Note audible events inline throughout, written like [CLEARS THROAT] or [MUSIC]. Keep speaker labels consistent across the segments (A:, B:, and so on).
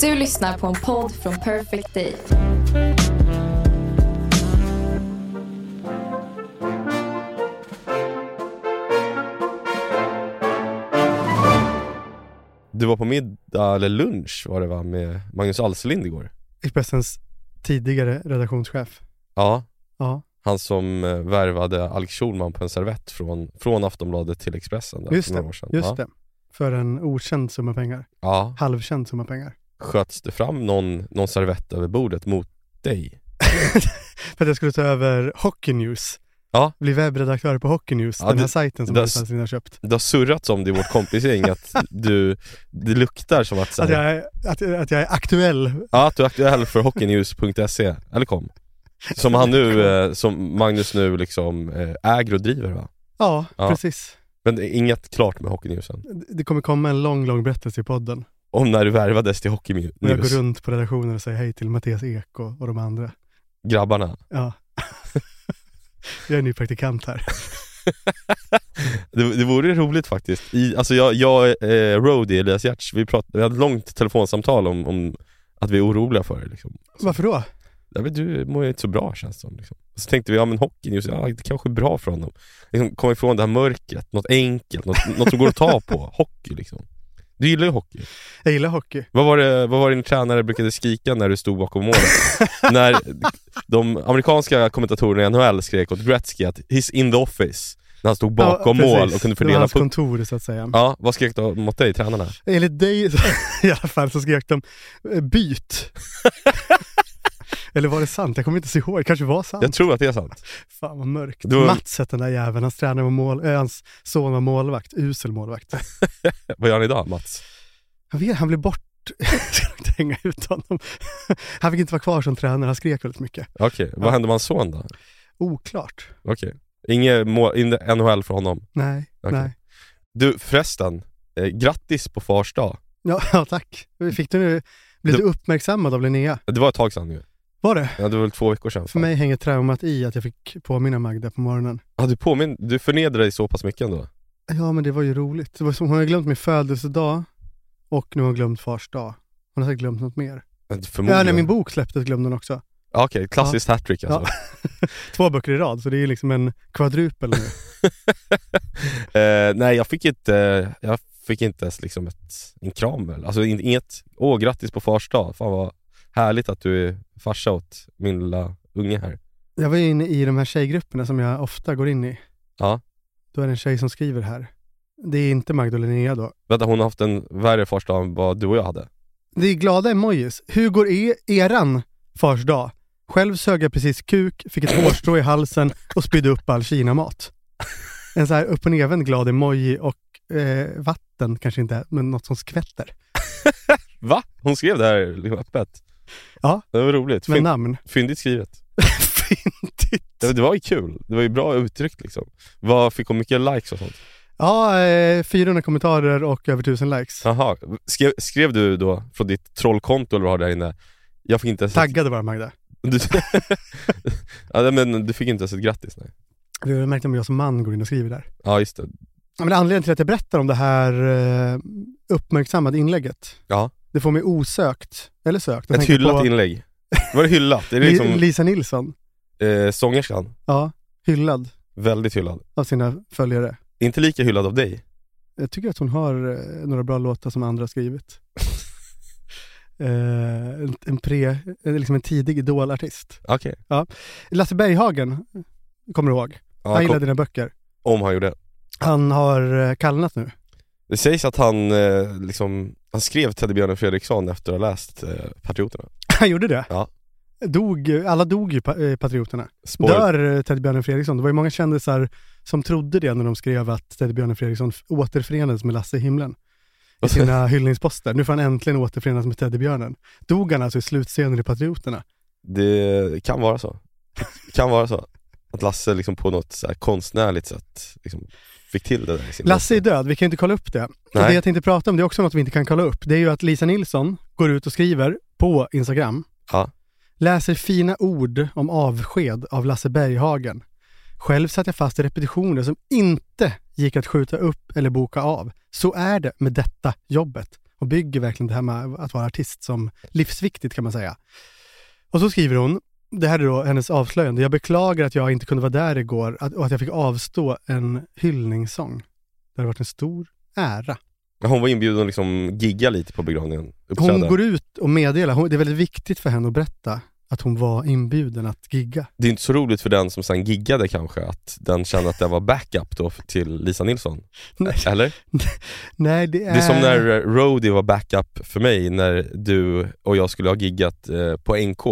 A: Du lyssnar på en podd från Perfect Day.
B: Du var på middag, eller lunch var det va, med Magnus Alselind igår?
C: Expressens tidigare redaktionschef.
B: Ja,
C: Ja,
B: han som eh, värvade Alex Schulman på en servett från, från Aftonbladet till Expressen där,
C: Just
B: för några år sedan.
C: just
B: ja.
C: det. För en okänd summa pengar.
B: Ja.
C: Halvkänd summa pengar.
B: Sköts det fram någon, någon servett över bordet mot dig?
C: För att jag skulle ta över Hockey News.
B: Ja.
C: Bli webbredaktör på Hockey News,
B: Ja,
C: den här
B: det-
C: sajten som
B: det-
C: Expressen har köpt.
B: Det har surrats om det i vårt kompisgäng
C: [LAUGHS]
B: att du, det luktar som att, så
C: Att
B: här,
C: jag, är, att, att jag är aktuell.
B: ja, att du är aktuell för hockeynews.se, eller kom. Som han
C: [LAUGHS]
B: nu, eh, som Magnus nu liksom eh, äger och driver va?
C: Ja,
B: Ja.
C: precis.
B: Men det är inget klart med hockeynewsen.
C: Det kommer komma en lång, lång berättelse i podden.
B: Om när du värvades till
C: Och jag går
B: hockeynews,
C: runt på redaktionen och säger hej till Mattias Ek och, och de andra.
B: grabbarna. [LAUGHS]
C: Ja. jag är ny praktikant här.
B: Det, det vore roligt faktiskt. I, alltså jag, jag eh, Rody, Elias Giertz, vi, prat, vi hade ett långt telefonsamtal om, om att vi är oroliga för det liksom.
C: Varför då?
B: Ja, men du mår ju inte så bra känns det som. Liksom. Och så tänkte vi, ja men hockeyn, just, ja, det kanske är bra för honom. Liksom, komma ifrån det här mörkret, något enkelt, något, något som går att ta på. [LAUGHS] Hockey liksom. Du gillar ju hockey.
C: Jag gillar hockey.
B: Vad var, det, vad var det din tränare brukade skrika när du stod bakom
C: [LAUGHS]
B: målet? när de amerikanska kommentatorerna i NHL skrek åt Gretzky att “He's in the office” när han stod bakom
C: Ja, precis.
B: mål och kunde
C: Det var
B: fördela
C: hans
B: puck.
C: kontor så att säga.
B: Ja, vad skrek de mot dig, tränarna?
C: Enligt dig så- [LAUGHS] i alla fall så skrek de eh, byt. Eller var det sant? Jag kommer inte ihåg. Det kanske var sant.
B: Jag tror att det är sant.
C: Fan vad mörkt.
B: Det var-
C: Mats hette den där jäveln. Hans, tränare var mål... eh, hans son var målvakt. Usel målvakt.
B: Vad gör han idag, Mats?
C: Jag vet, han blev bort... [LAUGHS] Jag ska inte hänga ut honom. [LAUGHS] Han fick inte vara kvar som tränare. Han skrek väldigt mycket.
B: Okej, vad
C: Ja.
B: hände med hans son då?
C: Oklart.
B: Okej. Inget mål, inte NHL för honom?
C: Nej,
B: Okej.
C: nej.
B: Du förresten, eh, grattis på fars dag.
C: Ja, [LAUGHS] ja tack. Fick du nu... Blev
B: Du-
C: du uppmärksammad av Linnea?
B: Det var ett tag sedan nu.
C: Var det?
B: Ja, det var väl två veckor sedan.
C: För mig hänger traumat i att jag fick påminna Magda på morgonen.
B: Ja, du, påminn, du förnedrar dig så pass mycket ändå.
C: Ja men det var ju roligt. Det var som, hon har glömt min födelsedag och nu har hon glömt fars dag. Hon har säkert glömt något mer.
B: Förmodligen.
C: Ja, när min bok släpptes glömde hon också.
B: Ja, Okej, klassiskt hattrick alltså.
C: Två böcker i rad, så det är ju liksom en kvadrupel nu.
B: [LAUGHS] Eh, nej, jag fick inte, jag fick inte ens liksom ett, en kram väl. Alltså in- inget, åh grattis på fars dag. Fan vad härligt att du är farsa åt min lilla unge här.
C: Jag var ju inne i de här tjejgrupperna som jag ofta går in i.
B: Ja.
C: Då är det en tjej som skriver här. Det är inte Magda och Linnea då.
B: Vänta, hon har haft en värre fars dag än vad du och jag hade.
C: Det är glada emojis. Hur går e- eran fars dag? Själv sög jag precis kuk, fick ett hårstrå i halsen och spydde upp all kinamat. En så här upp och nervänd glad emoji och eh, vatten kanske inte, men något som skvätter.
B: Va? Hon skrev det här liksom öppet.
C: Ja.
B: Det var roligt.
C: Med
B: Fyn,
C: namn.
B: Fyndigt skrivet.
C: Fyndigt.
B: Det, var- det var ju kul. Det var ju bra uttryckt liksom. Vad fick hon mycket likes och sånt?
C: Ja, eh, 400 kommentarer och över 1000 likes.
B: Jaha, skrev, skrev du då från ditt trollkonto eller vad du har där inne? Jag fick inte ens
C: Taggade bara Magda.
B: Du, [LAUGHS] ja, nej, men du fick inte ens ett grattis nej.
C: Vi har märkt om jag som man går in och skriver där.
B: Ja just det.
C: Ja, Men anledningen till att jag berättar om det här eh, uppmärksammade inlägget,
B: Ja.
C: det får mig osökt, eller sökt, att
B: Ett
C: tänka
B: hyllat
C: på
B: inlägg. Var det hyllat? Är det
C: [LAUGHS] Li-
B: liksom
C: Lisa Nilsson.
B: eh, sångerskan?
C: Ja, hyllad
B: Väldigt hyllad.
C: av sina följare.
B: Inte lika hyllad av dig.
C: Jag tycker att hon har eh, några bra låtar som andra har
B: [LAUGHS]
C: skrivit. Eh, en, en, pre, en, liksom en tidig idolartist.
B: Okej.
C: Lasse Berghagen, kommer du ihåg?
B: Ja,
C: Han
B: kom-
C: gillar dina böcker.
B: Om han gjorde.
C: Han har eh, kallnat nu. [LAUGHS]
B: Det sägs att han eh, liksom, han skrev Teddybjörnen Fredriksson efter att ha läst eh, Patrioterna.
C: Han gjorde det?
B: Ja.
C: Dog, alla dog ju, pa- eh, Patrioterna.
B: Spår.
C: Dör eh, Teddybjörnen Fredriksson? Det var ju många kändisar som trodde det när de skrev att Teddybjörnen Fredriksson f- återförenades med Lasse i himlen. I sina hyllningsposter. Nu får han äntligen återförenas med Teddybjörnen. Dog han alltså i slutscenen i Patrioterna?
B: [LAUGHS] Det kan vara så. Det kan vara så. Att Lasse liksom på något så här konstnärligt sätt liksom, fick till det där i sin
C: Lasse är död, vi kan ju inte kolla upp det. Och
B: Nej.
C: det jag tänkte prata om, det är också något vi inte kan kolla upp. Det är ju att Lisa Nilsson går ut och skriver på Instagram.
B: Ja.
C: Läser fina ord om avsked av Lasse Berghagen. Själv satt jag fast i repetitioner som inte gick att skjuta upp eller boka av. Så är det med detta jobbet. och bygger verkligen det här med att vara artist som livsviktigt kan man säga. Och så skriver hon, det här är då hennes avslöjande, jag beklagar att jag inte kunde vara där igår att- och att jag fick avstå en hyllningssång. Det hade varit en stor ära.
B: Hon var inbjuden att liksom gigga lite på begravningen. Uppträda.
C: Hon går ut och meddelar, hon, det är väldigt viktigt för henne att berätta att hon var inbjuden att gigga.
B: Det är inte så roligt för den som sen giggade kanske, att den kände att den var backup då f- till Lisa Nilsson.
C: [LAUGHS] Nej.
B: Eller?
C: Nej, det är...
B: Det är som när eh, Roadie var backup för mig när du och jag skulle ha giggat eh, på NK.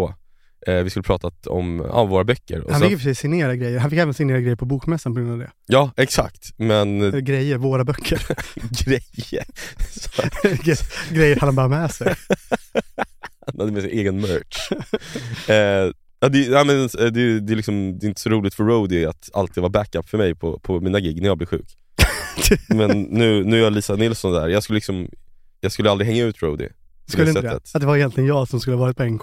B: Eh, vi skulle pratat om ja, våra böcker. Och
C: Han
B: sen,
C: fick i och för sig signera grejer. Han fick även signera grejer på bokmässan på grund av det.
B: ja, exakt. Men eh,
C: Eller Grejer,
B: [LAUGHS]
C: våra böcker.
B: grejer. [LAUGHS] Så
C: Gre- grejer han bara med sig.
B: han hade med sig egen merch. [LAUGHS] eh, ja, det, ja, men, eh, det, är- det, är liksom, det är inte så roligt för Roadie att alltid vara backup för mig på, på mina gig när jag blir sjuk. men nu, nu är jag Lisa Nilsson där. Jag skulle, liksom, jag skulle aldrig hänga ut Roadie. på
C: Skulle inte det?
B: sättet.
C: Att det var egentligen jag som skulle ha varit på NK.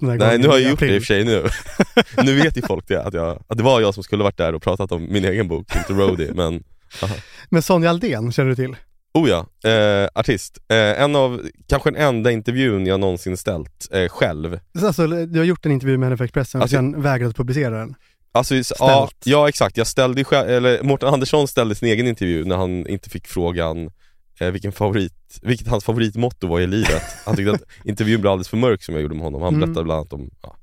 C: Den där
B: Nej,
C: gången
B: nu har
C: i
B: jag gjort det i
C: april.
B: och för sig nu. nu [LAUGHS] vet ju folk det, att, jag, att det var jag som skulle varit där och pratat om min egen bok, inte Roadie. Men,
C: Men Sonja Aldén känner du till?
B: oh ja, eh, artist. Eh, en av, kanske den enda intervjun jag någonsin ställt eh, själv.
C: Alltså, du har gjort en intervju med henne för Expressen och
B: Alltså-
C: sen vägrat publicera den.
B: Alltså, s- ja,
C: Ställt.
B: ja exakt, jag ställde ju själv, eller Mårten Andersson ställde sin egen intervju när han inte fick frågan eh, vilken favorit, vilket hans favoritmotto var i livet. Han tyckte
C: [LAUGHS]
B: att intervjun blev alldeles för mörk som jag gjorde med honom. Han
C: Mm.
B: berättade bland annat om ja,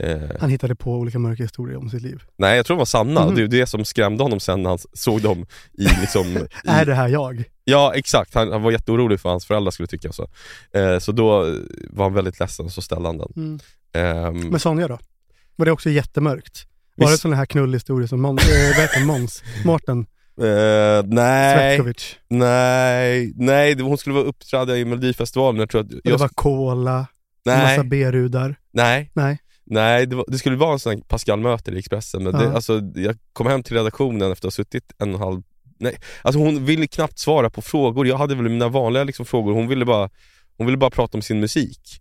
B: eh,
C: Han hittade på olika mörka historier om sitt liv.
B: Nej jag tror de var sanna,
C: Mhm.
B: det är det som skrämde honom sen när han såg dem i
C: [LAUGHS]
B: liksom... i,
C: Är det här jag?
B: Ja exakt, han, han var jätteorolig för vad hans föräldrar skulle tycka så. Eh, så då eh, var han väldigt ledsen, så ställde han den. Ehm,
C: Men Sonja då? Var det också jättemörkt? Var det
B: Visst.
C: sådana här knullhistorier som Måns, äh, vad heter
B: [LAUGHS]
C: han? Måns, Mårten
B: eh, nej,
C: Svetkovic?
B: nej, nej, det- hon skulle vara uppträda i melodifestivalen, jag tror att...
C: Och Det
B: Jag,
C: var cola,
B: nej,
C: massa B-rudar.
B: nej,
C: Nej.
B: nej, det, var, det skulle vara en sån här Pascal-möte i Expressen, men
C: Ja.
B: det, alltså, jag kom hem till redaktionen efter att ha suttit en och en halv... Nej, alltså hon ville knappt svara på frågor, jag hade väl mina vanliga liksom, frågor, hon ville bara Hon ville bara prata om sin musik.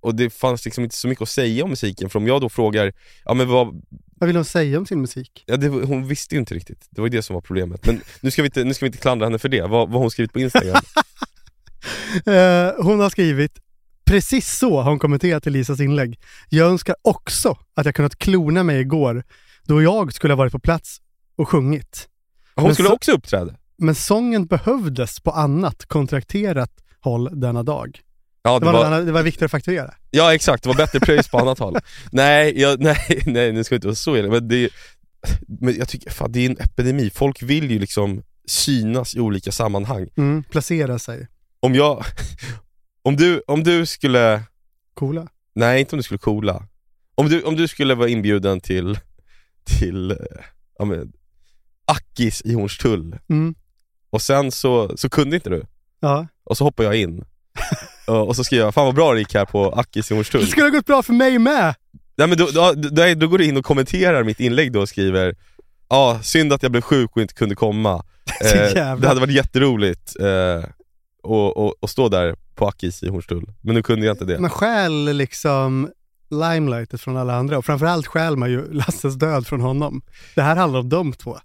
B: Och det fanns liksom inte så mycket att säga om musiken, för om jag då frågar, ja men vad,
C: Vad vill hon säga om sin musik?
B: ja, det, var- hon visste ju inte riktigt. Det var ju det som var problemet. Men nu ska vi inte, nu ska vi inte klandra henne för det, vad, vad har hon skrivit på
C: [LAUGHS]
B: Instagram.
C: Eh, hon har skrivit Precis så har hon kommenterat till Lisas inlägg. Jag önskar också att jag kunnat klona mig igår då jag skulle ha varit på plats och sjungit.
B: Hon
C: Men
B: skulle
C: så-
B: också uppträda.
C: Men sången behövdes på annat kontrakterat håll denna dag.
B: Ja,
C: Det
B: det
C: var,
B: var,
C: var... Det var viktigare att fakturera.
B: ja exakt, det var bättre pröjs på annat håll. Nej, jag, nej, [LAUGHS] nej, nu ska vi inte vara så illa, men det är- men jag tycker fan, det är en epidemi. Folk vill ju liksom synas i olika sammanhang.
C: Mm, placera sig.
B: Om jag, [LAUGHS] om du, om du skulle
C: Coola.
B: Nej, inte om du skulle coola. Om du, om du skulle vara inbjuden till, till eh, ja, men, Ackis i Hornstull
C: Mm,
B: och sen så, så kunde inte du.
C: ja.
B: Och så hoppar jag in. och och så skriver jag, fan vad bra det gick här på Ackis i
C: Det
B: Hornstull.
C: skulle ha gått bra för mig med!
B: Nej, men då, då, då, då går du in och kommenterar mitt inlägg då och skriver, ja synd att jag blev sjuk och inte kunde
C: [LAUGHS]
B: komma. Eh,
C: Så jävla-
B: det hade varit jätteroligt eh, och, och, och stå där på Ackis i Hornstull. Men nu kunde jag inte det.
C: Man stjäl liksom limelightet från alla andra och framförallt stjäl man ju Lasses död från honom. Det här handlar om de två.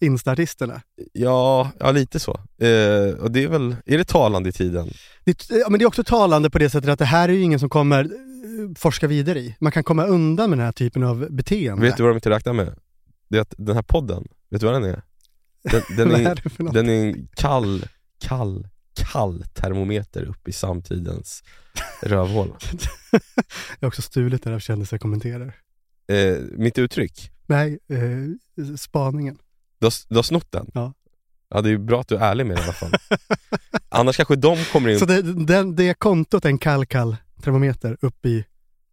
C: Instartisterna.
B: Ja, ja lite så. Eh, och det är väl, är det talande i tiden?
C: Det, ja, men det är också talande på det sättet att det här är ju ingen som kommer eh, forska vidare i. Man kan komma undan med den här typen av beteende.
B: Vet du vad de inte räknar med? Det är att den här podden, vet du vad den är?
C: [LAUGHS]
B: Den, den,
C: [LAUGHS] Vad är
B: är,
C: det för något?
B: den är en kall, kall, kall termometer upp i samtidens
C: [LAUGHS]
B: rövhål.
C: Jag har också stulit det där av kändisar kommenterar.
B: Eh, mitt uttryck,
C: Nej, eh, spaningen.
B: du har, du har snott den?
C: Ja.
B: Ja, det är ju bra att du är ärlig med det i alla fall. [LAUGHS] Annars kanske de kommer in
C: Så det, den, det kontot är en kall, kall termometer upp i...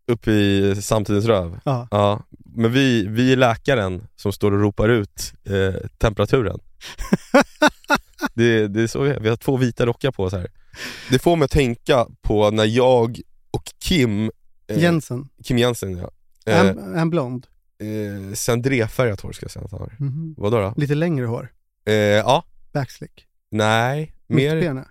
B: upp i samtidens röv.
C: Ja. [LAUGHS]
B: Ja, men vi, vi är läkaren som står och ropar ut eh, temperaturen. det, det är så vi är. Vi har två vita rockar på oss här. Det får mig att tänka på när jag och Kim, eh,
C: Jensen,
B: Kim Jensen ja.
C: är
B: Eh,
C: han- är han blond?
B: eh, Sendré-färgat hår ska jag säga att han har.
C: Mhm.
B: Vadå då?
C: Lite längre hår,
B: Eh, ja,
C: backslick.
B: nej, mer,
C: Mittbena.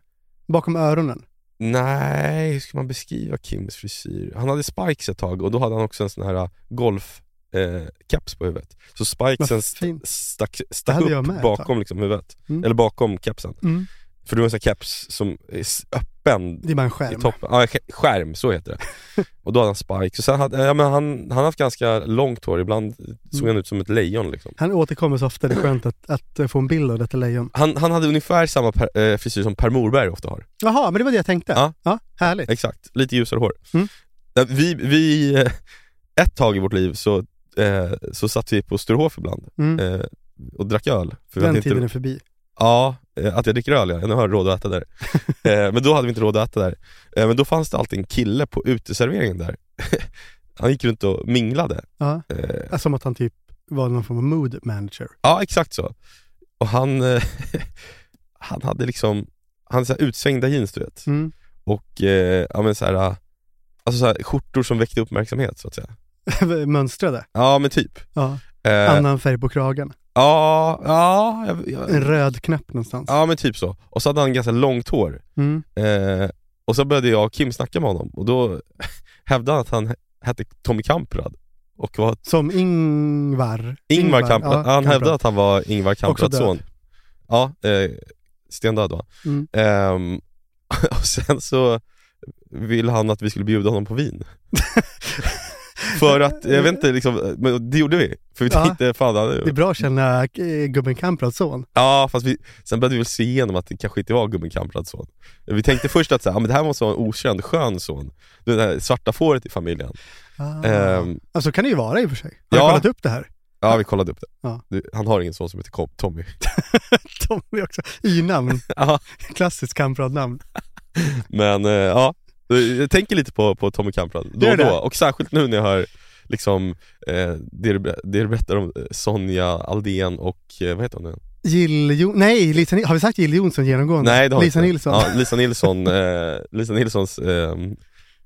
C: Bakom öronen.
B: nej, hur ska man beskriva Kims frisyr? Han hade spikes ett tag och då hade han också en sån här äh, golf eh, caps på huvudet. Så
C: Vad
B: spikesen st-
C: fint.
B: stack,
C: Det
B: stack
C: hade jag
B: upp
C: med ett tag.
B: bakom liksom huvudet,
C: Mm.
B: eller bakom kepsen.
C: Mm.
B: För du har en sån här caps som är s- öppen
C: Det är bara en
B: i
C: skärm.
B: toppen. Ja, sk- skärm, så heter
C: [LAUGHS]
B: det. Och då hade han spikes. Så han, hade, ja, men han, han har haft ganska långt hår, ibland
C: Mm.
B: såg han ut som ett lejon liksom.
C: Han återkommer så ofta, det är skönt att, att eh, få en bild av detta lejon.
B: Han, han hade ungefär samma per, eh, frisyr som Per Morberg ofta har.
C: Jaha, men det var det jag tänkte.
B: Ja.
C: härligt.
B: Exakt, lite ljusare hår.
C: Mm.
B: Eh, Vi, vi, eh, ett tag i vårt liv så, eh, så satt vi på Sturehof ibland
C: Mm.
B: eh, och drack öl. För vi hade
C: Den
B: inte-
C: tiden är förbi.
B: Ja, eh, att jag dricker öl ja. Nu har jag råd att äta
C: [LAUGHS]
B: där. Eh, men då hade vi inte råd att äta där. Eh, Men då fanns det alltid en kille på uteserveringen där. [LAUGHS] Han gick runt och minglade.
C: Ja.
B: Eh,
C: Alltså, Som att han typ var någon form av mood manager.
B: Ja, exakt så. Och han, eh, [LAUGHS] han hade liksom, han hade så här utsvängda jeans du vet.
C: Mm. [LAUGHS]
B: Och eh, ja, men så här, eh, alltså så här, skjortor som väckte uppmärksamhet så att säga.
C: Mönstrade.
B: Ja men typ.
C: Ja.
B: Eh,
C: Annan färg på kragen.
B: ja, ja, jag,
C: En
B: jag,
C: röd knapp någonstans.
B: Eh. ja men typ så. Och så hade han ganska långt hår.
C: Mm.
B: Eh, och så började jag och Kim snacka med honom och då [LAUGHS] hävdade han att han he- hette Tommy Kamprad. Och var
C: Som Ingvar.
B: Ingvar Kamprad.
C: ja,
B: han hävdade
C: Kamprad.
B: att han var Ingvar Kamprads
C: Också död.
B: son. Ja, eh, stendöd var han.
C: Mm.
B: Ehm, [LAUGHS] och sen så ville han att vi skulle bjuda honom på
C: [LAUGHS]
B: vin. för att, jag vet inte, liksom, men det gjorde vi. För vi
C: Ja.
B: tänkte, fan, han-
C: Det är bra att känna eh, gubben Kamprads son.
B: Ja, fast vi, sen började vi väl se igenom att det kanske inte var gubben Kamprads son. Vi tänkte först att så här, ja, men det här måste vara en okänd skön son. Det där svarta fåret i familjen.
C: Ah.
B: Ehm,
C: Ja, så kan det ju vara i och för sig. Har
B: Ja.
C: du kollat upp det här?
B: ja, vi kollade upp det.
C: Ja.
B: Du, han har ingen son som heter Kom- Tommy. [LAUGHS]
C: [LAUGHS] Tommy också. Y-namn.
B: Ja.
C: Klassiskt Kamprad-namn.
B: Men eh, ja, jag tänker lite på, på Tommy Kamprad då
C: Gör
B: och
C: det.
B: då. Och särskilt nu när jag hör liksom, eh, det, du, ber- det du berättar om eh, Sonja Aldén och, eh, vad heter hon nu?
C: Jill jo- Nej, Lisa Ni- har vi sagt Jill Jonsson genomgående?
B: Nej det har vi
C: Lisa
B: inte.
C: Nilsson.
B: Ja, Lisa Nilsson, eh, Lisa Nilssons eh,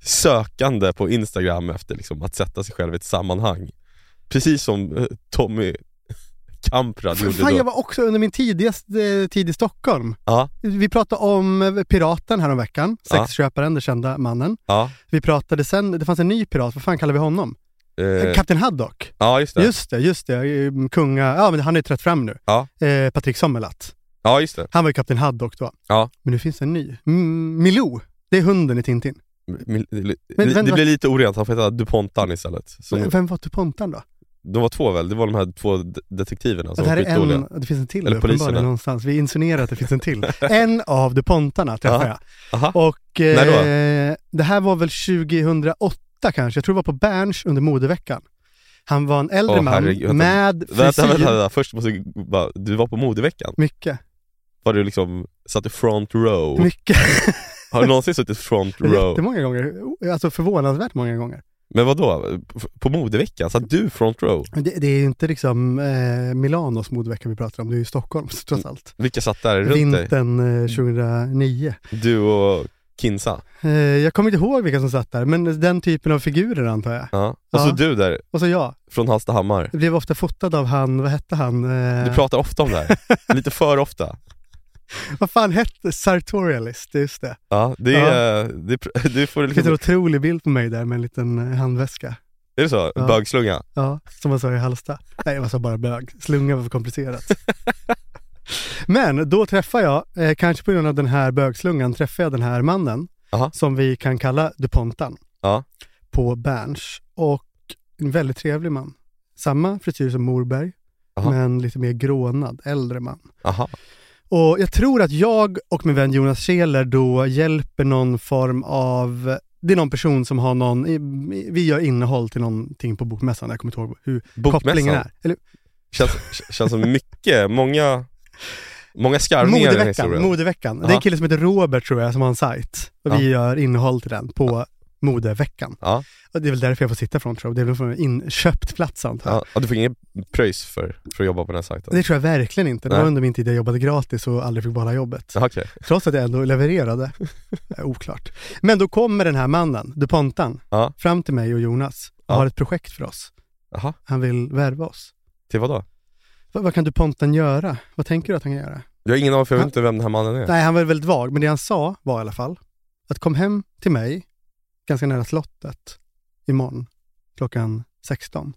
B: sökande på Instagram efter liksom, att sätta sig själv i ett sammanhang. Precis som eh, Tommy Kamprad
C: För
B: gjorde
C: Fan,
B: då.
C: jag var också under min tidigaste eh, tid i Stockholm.
B: Ja.
C: Vi pratade om eh, Piraten häromveckan,
B: Ja.
C: sexköparen, den kända mannen.
B: Ja,
C: Vi pratade sen, det fanns en ny pirat, vad fan kallar vi honom?
B: eh,
C: Kapten Haddock.
B: ja just det.
C: Just det, just det. Ehm, Kunga, ja men han är ju trött fram nu.
B: Ja.
C: Eh, Patrik Sommerlath.
B: Ja, just det.
C: Han var ju Kapten Haddock då.
B: Ja.
C: Men nu finns en ny. Mm, Milou, det är hunden i Tintin.
B: Men,
C: Men
B: det
C: vänta.
B: blir lite orent, han får heta DuPontan istället. Som,
C: Vem var Tupontan då?
B: de var två väl? Det var de här två de- detektiverna som
C: det här
B: var
C: är
B: skitdåliga.
C: en, det finns en till
B: Eller poliserna.
C: uppenbarligen någonstans. Vi insinuerar att det finns
B: [LAUGHS]
C: en till. en av DuPontarna träffade
B: Ja.
C: jag.
B: Aha.
C: Och eh,
B: När då?
C: det här var väl 2008 kanske, jag tror det var på Berns under modeveckan. Han var en äldre
B: Åh,
C: man
B: herregud, vänta.
C: med frisyr.
B: Vänta, vänta, vänta, först måste jag bara, du var på modeveckan.
C: Mycket,
B: Var du liksom, satt i front row?
C: mycket. [LAUGHS]
B: Har du någonsin suttit front row?
C: Jättemånga gånger. Alltså förvånansvärt många gånger.
B: Men vad då? På modeveckan? Satt du front row?
C: Men Det, det är ju inte liksom eh, Milanos modevecka vi pratar om, det är ju Stockholms [LAUGHS] trots allt.
B: Vilka satt där runt dig? Mm.
C: Vintern eh, 2009.
B: Du och Kinsa?
C: Eh, jag kommer inte ihåg vilka som satt där, men den typen av figurer antar jag.
B: Ja. Och så
C: Ja.
B: du där,
C: Och så jag.
B: från Hallstahammar.
C: Jag blev ofta fotad av han, vad hette han? Eh,
B: Du pratar ofta om det
C: [LAUGHS]
B: här. Lite för ofta.
C: vad fan hette Sartorialist, just det.
B: Ja, det är, Det, är- [LAUGHS] du får
C: Det finns
B: liksom,
C: en otrolig bild på mig där med en liten eh, handväska.
B: är det så?
C: Ja.
B: Bögslunga?
C: Ja, som man sa i Halsta. Nej, jag sa bara bög. Slunga var
B: [LAUGHS]
C: för komplicerat. Men då träffar jag, eh, kanske på grund av den här bögslungan, träffar jag den här mannen
B: Aha.
C: som vi kan kalla DuPontan
B: Ja.
C: på Berns. Och en väldigt trevlig man. Samma frisyr som Morberg,
B: Aha.
C: men lite mer grånad, äldre man.
B: Aha.
C: Och jag tror att jag och min vän Jonas Scheler då hjälper någon form av det är någon person som har någon, i- vi gör innehåll till någonting på bokmässan, jag kommer inte ihåg hur kopplingen
B: Bokmässan?
C: är. Eller,
B: Känns, känns som mycket, många, många skarvningar i den här
C: modeveckan,
B: historien.
C: modeveckan. Det är
B: Aha.
C: en kille som heter Robert tror jag som har en sajt. Och vi gör innehåll till den på modeveckan.
B: Ja.
C: Och det är väl därför jag får sitta från tror jag. Det är väl från en inköpt plats antar jag.
B: Ja, och du fick ingen pröjs för, för att jobba på den här sajten?
C: Det tror jag verkligen inte. Det var
B: Nej.
C: under min tid jag jobbade gratis och aldrig fick behålla jobbet.
B: Ja, okej.
C: Trots att jag
B: [LAUGHS]
C: ändå levererade. Eh, Oklart. Men då kommer den här mannen, DuPontan,
B: Ja.
C: fram till mig och Jonas och
B: Ja.
C: har ett projekt för oss.
B: Jaha,
C: Han vill värva oss.
B: till vad då?
C: Va- vad kan DuPontan göra? Vad tänker du att han kan göra?
B: Jag har ingen aning för jag vet inte vem den här mannen är.
C: Nej, han var väldigt vag, men det han sa var i alla fall att kom hem till mig, ganska nära slottet, imorgon klockan 16.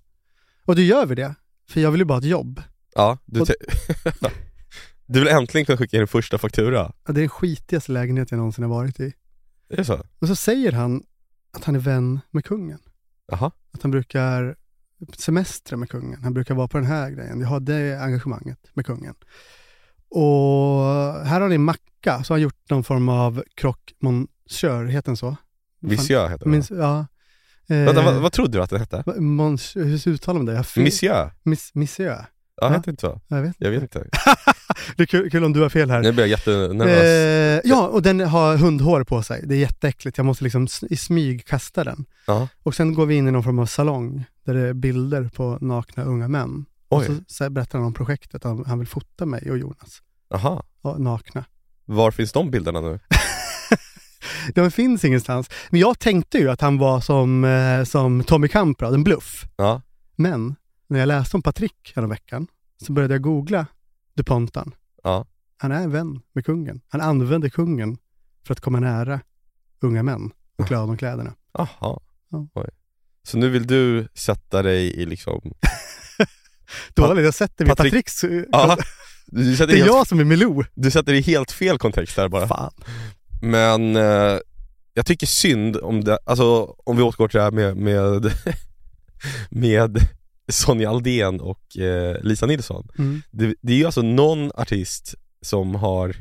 C: Och då gör vi det, för jag vill ju bara ha ett jobb.
B: Ja, du
C: Och-
B: te- [LAUGHS] Du vill äntligen kunna skicka in din första faktura?
C: Ja, Det är den skitigaste lägenhet jag någonsin har varit i.
B: Är det så?
C: Och så säger han att han är vän med kungen.
B: Jaha.
C: Att han brukar semestra med kungen. Han brukar vara på den här grejen. Jag har det engagemanget med kungen. Och här har ni en macka, så har han gjort någon form av croque monsieur, heter den så?
B: Monsieur heter
C: Fan,
B: det
C: Minns, ja. Eh,
B: Vänta, vad, vad trodde du att den hette?
C: va- Mons, hur uttalar man det? Jag har fel.
B: Monsieur?
C: Miss, monsieur?
B: Ja,
C: Ja.
B: hette inte så?
C: Jag vet inte.
B: Jag vet
C: [LAUGHS]
B: inte.
C: Det är kul, kul om du har fel här.
B: Nu blir jag jättenervös.
C: Eh, ja, och den har hundhår på sig. Det är jätteäckligt. Jag måste liksom s- i smyg kasta den.
B: Ja.
C: Och sen går vi in i någon form av salong där det är bilder på nakna unga män. Och
B: Oj,
C: så, så berättar han om projektet. Han, han vill fota mig och Jonas
B: jaha.
C: ja, nakna.
B: Var finns de bilderna nu?
C: De finns ingenstans. Men jag tänkte ju att han var som, eh, som Tommy Kamprad, en bluff.
B: Ja.
C: Men när jag läste om Patrick veckan så började jag googla DuPontan.
B: Ja.
C: Han är vän med kungen. Han använder kungen för att komma nära unga män och klä av dem kläderna.
B: Jaha.
C: Ja.
B: Oj. Så nu vill du sätta dig i liksom...
C: Dåligt, jag sätter mig i
B: Patrick-
C: Patricks... eh, [LAUGHS]
B: Ja, du sätter,
C: Det
B: dig
C: är
B: helt,
C: jag som är Milou.
B: du sätter dig i helt fel kontext där bara.
C: Fan.
B: Men eh, jag tycker synd om det, alltså om vi återgår till det här med, med, [LAUGHS] med Sonja Aldén och eh, Lisa Nilsson.
C: Mm.
B: Det, det är ju alltså någon artist som har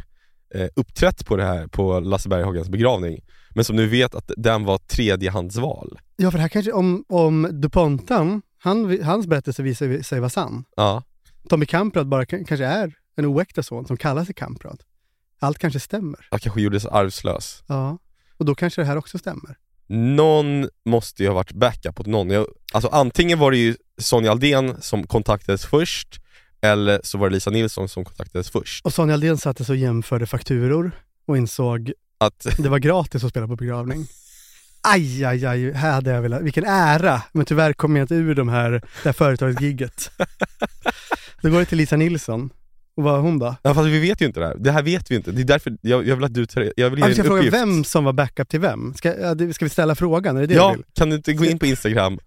B: eh, uppträtt på det här på Lasse Berghagens begravning, men som nu vet att den var tredjehandsval.
C: Ja, för det här kanske, om, om DuPontan, han, hans berättelse visar ju sig vara sann.
B: Ja,
C: Tommy Kamprad bara k- kanske är en oäkta son som kallar sig Kamprad. Allt kanske stämmer.
B: jag kanske gjordes arvslös.
C: Ja. Och då kanske det här också stämmer.
B: Någon måste ju ha varit backup åt någon. Jag, alltså antingen var det ju Sonja Aldén som kontaktades först, eller så var det Lisa Nilsson som kontaktades först.
C: Och Sonja Aldén satte sig och jämförde fakturor och insåg
B: Att [LAUGHS]
C: Det var gratis att spela på begravning. Aj, aj, aj, här hade jag velat. Vilken ära! Men tyvärr kom jag inte ur de här, det
B: [LAUGHS]
C: här företagsgigget. Då går det till Lisa Nilsson. Och vad var hon då?
B: Ja fast vi vet ju inte det här. Det här vet vi inte. Det är därför jag, jag vill att du tar, jag vill ge
C: Ah,
B: dig
C: vi ska
B: en
C: fråga
B: uppgift.
C: vem som var backup till vem. Ska, ja, det- ska vi ställa frågan? Är det det du
B: ja,
C: vill?
B: kan du inte gå in på Instagram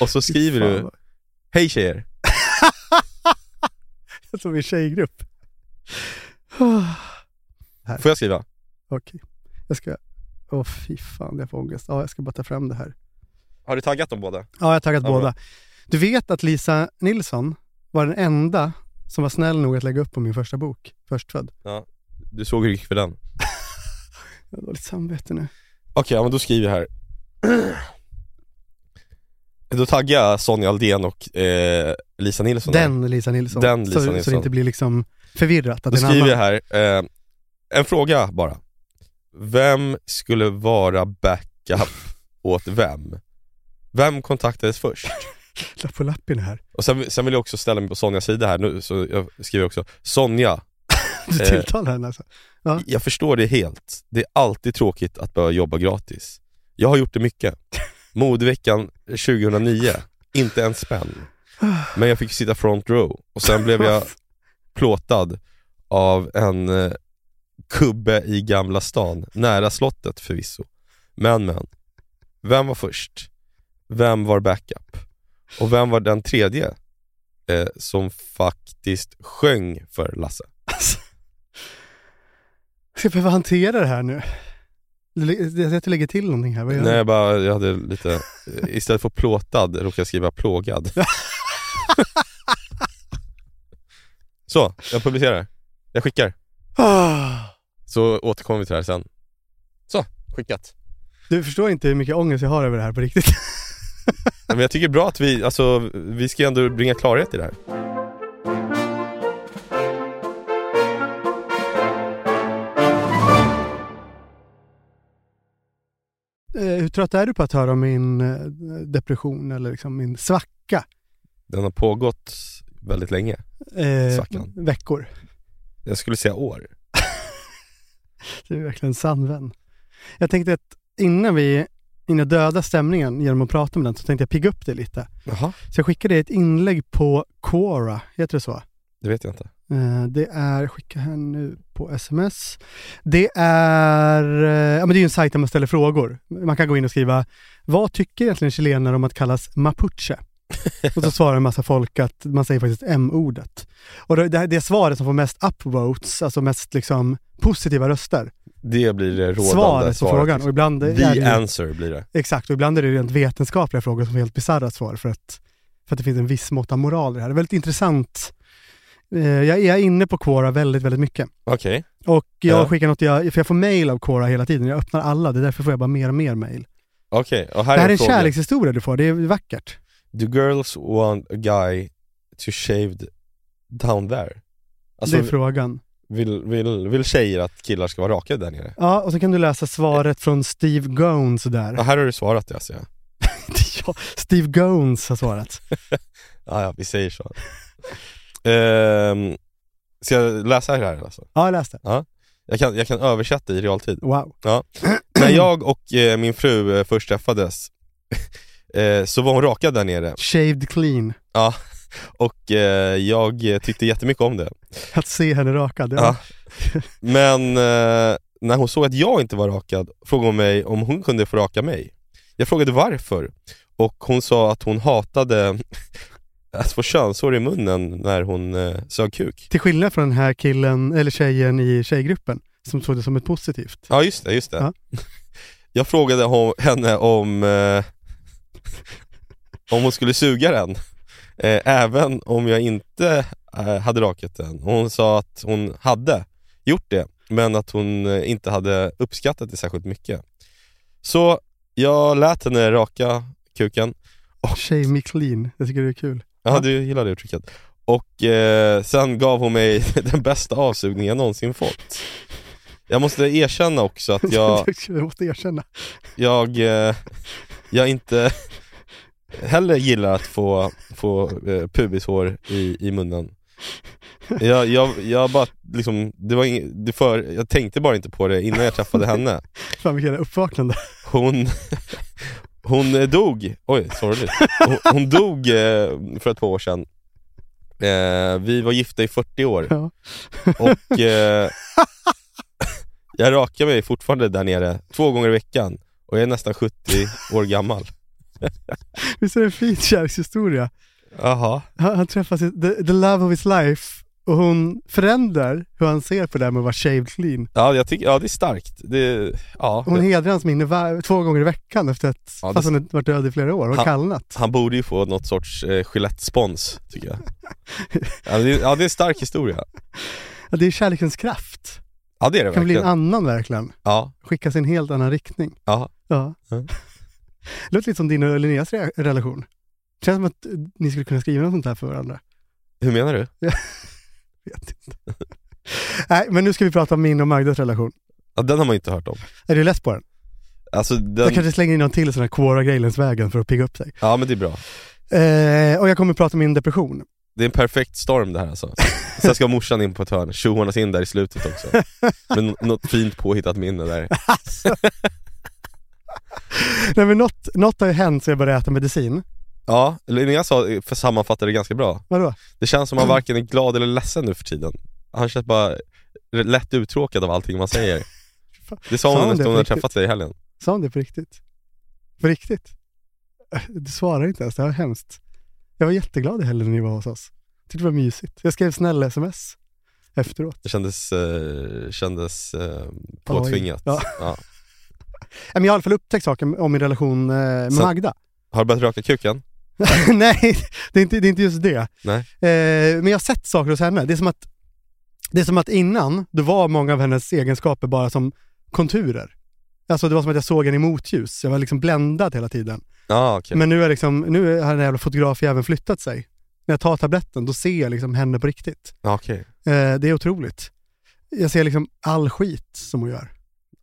B: och så skriver
C: Fan,
B: du Hej tjejer.
C: vad- Som
B: [LAUGHS]
C: i tjejgrupp.
B: Får jag skriva?
C: Okej. Jag ska... Åh fy fan, jag får ångest. Ja, jag ska bara ta fram det här.
B: Har du taggat dem båda?
C: Ja, jag har taggat
B: Ja, bra.
C: båda. Du vet att Lisa Nilsson var den enda som var snäll nog att lägga upp på min första bok, Förstfödd.
B: Du såg hur det gick för den. Okej,
C: Jag har dåligt samvete nu.
B: ja, men då skriver jag här. [CLEARS THROAT] Då taggar jag Sonja Aldén och eh, Lisa Nilsson. här.
C: Den Lisa Nilsson.
B: Den Lisa
C: så, så
B: Nilsson.
C: det inte blir liksom förvirrat. Att
B: Då
C: en annan...
B: skriver jag här, eh, en fråga bara. Vem skulle vara backup åt vem? Vem kontaktades först?
C: Lapp på
B: [LAUGHS]
C: lappen här.
B: Och sen, sen vill jag också ställa mig på Sonjas sida här nu, så jag skriver också Sonja,
C: Du
B: Eh.
C: tilltalar henne alltså.
B: jag förstår det helt. Det är alltid tråkigt att behöva jobba gratis. Jag har gjort det mycket. Modeveckan 2009, inte en spänn. Men jag fick sitta front row och sen blev jag plåtad av en eh, kubbe i Gamla stan, nära slottet förvisso. Men men, vem var först? Vem var backup? Och vem var den tredje eh, som faktiskt sjöng för Lasse?
C: Ska jag behöva hantera det här nu? Du lä- Jag ser att du lägger till någonting här. Vad gör
B: Nej
C: du?
B: jag bara, jag hade lite, istället för plåtad råkade jag skriva plågad. Så, jag publicerar. Jag skickar.
C: [LAUGHS] Ah,
B: Så återkommer vi till det här sen. Så, skickat.
C: Du förstår inte hur mycket ångest jag har över det här på riktigt. [LAUGHS]
B: Men jag tycker det är bra att vi, alltså vi ska ändå bringa klarhet i det här.
C: Eh, Hur trött är du på att höra om min eh, depression eller liksom min svacka?
B: Den har pågått väldigt länge.
C: Eh,
B: Svackan.
C: Veckor.
B: Jag skulle säga år.
C: Du är verkligen en sann vän. Jag tänkte att innan vi innan jag dödar stämningen genom att prata med den så tänkte jag pigga upp det lite.
B: Jaha.
C: Så jag skickade dig ett inlägg på Quora, heter det så?
B: Det vet jag inte.
C: Eh, Det är, skicka här nu på sms. Det är, eh, ja men det är ju en sajt där man ställer frågor. Man kan gå in och skriva, vad tycker egentligen chilenare om att kallas mapuche? [LAUGHS] Och så svarar en massa folk att man säger faktiskt M-ordet. Och det, det, det svaret som får mest upvotes, alltså mest liksom positiva röster,
B: [LAUGHS] Det blir det rådande
C: svaret på frågan. Och
B: liksom.
C: ibland är det,
B: The
C: ju-
B: answer blir det.
C: exakt, och ibland är det ju rent vetenskapliga frågor som får helt bisarra svar för att, för att det finns en viss mått av moral i det här. Det är väldigt intressant. Eh, Jag är inne på Quora väldigt, väldigt mycket.
B: Okej.
C: Och jag
B: Ja.
C: skickar något, jag, för jag får mail av Quora hela tiden. Jag öppnar alla, det är därför får jag bara mer och mer mail.
B: Okej, och här
C: det här är
B: är
C: en
B: frågan.
C: kärlekshistoria du får, det är vackert.
B: Do girls want a guy to shave d- down there? Alltså,
C: det är frågan.
B: vill, vill, vill tjejer att killar ska vara raka där nere?
C: Ja, och så kan du läsa svaret från Steve Gones där.
B: Ja, här har du svarat det alltså. Ja,
C: [LAUGHS] ja, Steve Gones har svarat.
B: ja, ja vi säger så. Ehm, ska jag läsa det här alltså?
C: Ja, jag läste.
B: Jag kan, jag kan översätta i realtid.
C: Wow.
B: När jag och eh, min fru eh, först träffades [LAUGHS] eh, så var hon rakad där nere
C: Shaved clean.
B: och eh, jag eh, tyckte jättemycket om det.
C: Att se henne rakad. Ja.
B: Ja. Men eh, när hon såg att jag inte var rakad frågade hon mig om hon kunde få raka mig. Jag frågade varför och hon sa att hon hatade [LAUGHS] att få könshår i munnen när hon eh, sög kuk.
C: Till skillnad från den här killen, eller tjejen i tjejgruppen, som såg det som ett positivt.
B: Ja just det, just det.
C: Ja.
B: Jag frågade hon, henne om eh, om hon skulle suga den, eh, även om jag inte eh, hade rakat den. Och Hon sa att hon hade gjort det, men att hon eh, inte hade uppskattat det särskilt mycket. Så jag lät henne raka kuken.
C: Shave me clean. Jag tycker det är kul. [LAUGHS]
B: Ja,
C: Ja.
B: du gillar det uttrycket. Och eh, sen gav hon mig [LAUGHS] den bästa avsugningen jag någonsin fått. Jag måste erkänna också att
C: [LAUGHS]
B: jag
C: jag måste erkänna.
B: jag, eh, jag inte heller gillar att få, få eh, pubishår i, i munnen. Jag, jag, jag bara liksom, det var ing, det för, jag tänkte bara inte på det innan jag träffade henne.
C: Fan vilket jävla uppvaknande.
B: Hon, [LAUGHS] hon eh, dog, oj sorgligt. Hon, hon dog eh, för ett par år sedan. Eh, vi var gifta i 40 år
C: Ja.
B: och eh, [LAUGHS] jag rakar mig fortfarande där nere två gånger i veckan och jag är nästan 70 år gammal.
C: Visst är det en fin kärlekshistoria?
B: Jaha.
C: Han, han träffar sitt, the, the love of his life och hon förändrar hur han ser på det här med att vara shaved clean.
B: Ja, jag tycker, ja det är starkt. Det, ja,
C: Hon
B: det,
C: hedrar hans minne var, två gånger i veckan efter att,
B: Ja, det-
C: fast hon hade varit död i flera år,
B: Ha-
C: och kallnat.
B: han borde ju få något sorts eh, Gillette-spons, tycker
C: [LAUGHS]
B: jag. ja, det, ja, det är en stark historia.
C: Ja, det är kärlekens kraft.
B: Ja, det är det
C: Det kan bli en
B: verkligen.
C: annan verkligen.
B: Ja,
C: Skickas i en helt annan riktning.
B: ja.
C: Ja.
B: Mm.
C: [LAUGHS] Låter lite som din och Linneas re- relation. Känns som att eh, ni skulle kunna skriva något sånt här för varandra.
B: Hur menar du?
C: Vet inte. Nej, men nu ska vi prata om min och Magdas relation.
B: Ja, den har man ju inte hört om.
C: Är du less på den?
B: Alltså,
C: Jag
B: den,
C: kanske slänger in någon till sån här Quora Grejlens vägen för att pigga upp sig.
B: Ja, men det är bra.
C: Eh, och jag kommer prata om min depression. [LAUGHS]
B: Det är en perfekt storm det här alltså. Sen ska morsan in på ett hörn, tjohornas in där i slutet också. Men nå- något fint påhittat minne där.
C: Alltså.
B: [LAUGHS]
C: Nej, men något, något har ju hänt så jag började äta medicin.
B: Ja, Linnea sa, för sammanfattade det ganska bra.
C: Vadå?
B: Det känns som han varken är glad eller ledsen nu för tiden. Han känns bara lätt uttråkad av allting man säger. Det sa
C: Sa
B: hon
C: hon
B: efter
C: det
B: hon hade
C: på
B: träffat dig i helgen.
C: Sa hon det på riktigt? På riktigt? [LAUGHS] Eh, Du svarar inte ens, det här är hemskt. Jag var jätteglad i helgen när ni var hos oss. Tyckte det var mysigt. Jag skrev snälla sms efteråt.
B: Det kändes, eh, kändes eh, påtvingat.
C: Ja.
B: Ja.
C: Nej, Men jag har i alla fall upptäckt saker om min relation eh, med
B: Så-
C: Magda. [LAUGHS]
B: Har du börjat röka kuken?
C: Nej, det är, inte, det är inte just det.
B: Nej.
C: Eh, men jag har sett saker hos henne. Det är som att, det är som att innan, då var många av hennes egenskaper bara som konturer. Alltså det var som att jag såg henne i motljus. Jag var liksom bländad hela tiden.
B: Ja, okej.
C: Men nu är liksom, nu har den här jävla fotografjäveln flyttat sig. När jag tar tabletten, då ser jag liksom henne på riktigt.
B: Ja, okej.
C: Eh, det är otroligt. Jag ser liksom all skit som hon gör.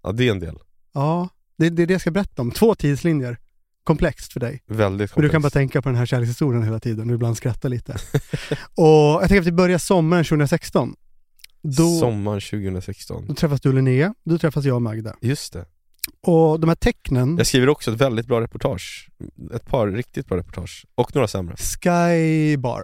B: Ja, det är en del.
C: Ja, det, det är det jag ska berätta om. Två tidslinjer. Komplext för dig.
B: Väldigt
C: Men du
B: komplext.
C: kan bara tänka på den här kärlekshistorien hela tiden och ibland skratta lite. [LAUGHS] och jag tänker att vi börjar sommaren 2016. Då,
B: Sommaren 2016.
C: då träffas du Linnea, då träffas jag och Magda.
B: Just det.
C: Och de här tecknen,
B: Jag skriver också ett väldigt bra reportage. Ett par riktigt bra reportage. Och några sämre.
C: Skybar.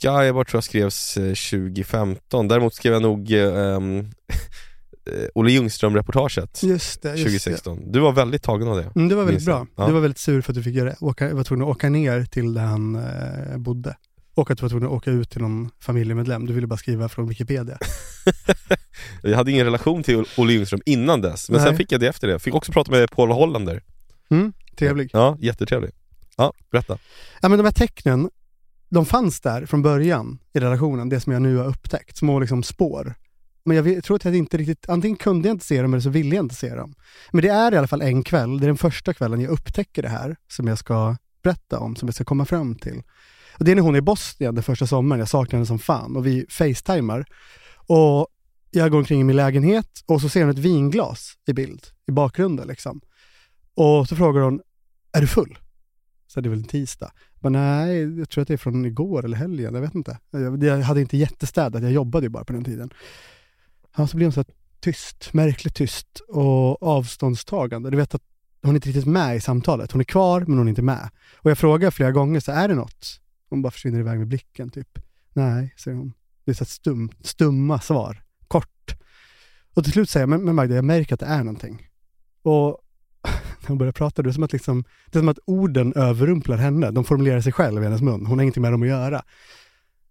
B: Skybar tror jag skrevs eh, 2015. Däremot skrev jag nog eh, ehm, [LAUGHS] eh, Olle Ljungström-reportaget
C: Just det, just det.
B: 2016. Du var väldigt tagen av det.
C: Mm, det var väldigt
B: Minns jag.
C: bra.
B: Ja.
C: Du var väldigt sur för att du fick göra, åka, var tvungen att åka ner till där han eh, bodde. Och att du var tvungen att åka ut till någon familjemedlem. Du ville bara skriva från Wikipedia.
B: Jag hade ingen relation till Olle Ljungström innan dess, men sen
C: Nej.
B: fick jag det efter det. Fick också prata med Paul Hollander.
C: Mm, trevlig.
B: Ja, jättetrevlig. Ja, berätta.
C: Ja, men de här tecknen, de fanns där från början i relationen, det som jag nu har upptäckt. Små liksom spår. Men jag vet- tror att jag inte riktigt, antingen kunde jag inte se dem eller så ville jag inte se dem. Men det är i alla fall en kväll, det är den första kvällen jag upptäcker det här som jag ska berätta om, som jag ska komma fram till. Och det är när hon är i Bosnien den första sommaren, jag saknar henne som fan och vi facetimar. Och jag går omkring i min lägenhet och så ser hon ett vinglas i bild, i bakgrunden liksom. Och så frågar hon, är du full? Så det är väl en tisdag. Men nej, jag tror att det är från igår eller helgen, jag vet inte. Jag, jag hade inte jättestädat, jag jobbade ju bara på den tiden. Ja, så blir hon så här tyst, märkligt tyst och avståndstagande. Du vet att hon är inte riktigt med i samtalet. Hon är kvar, men hon är inte med. Och jag frågar flera gånger, så här, är det något? Hon bara försvinner iväg med blicken, typ. Nej, säger hon. Det är så här stum, stumma svar, kort. Och till slut säger jag, men, men Magda, jag märker att det är någonting. Och [LAUGHS] när hon börjar prata, det är som att liksom det är som att orden överrumplar henne. De formulerar sig själv i hennes mun. Hon har ingenting med dem att göra.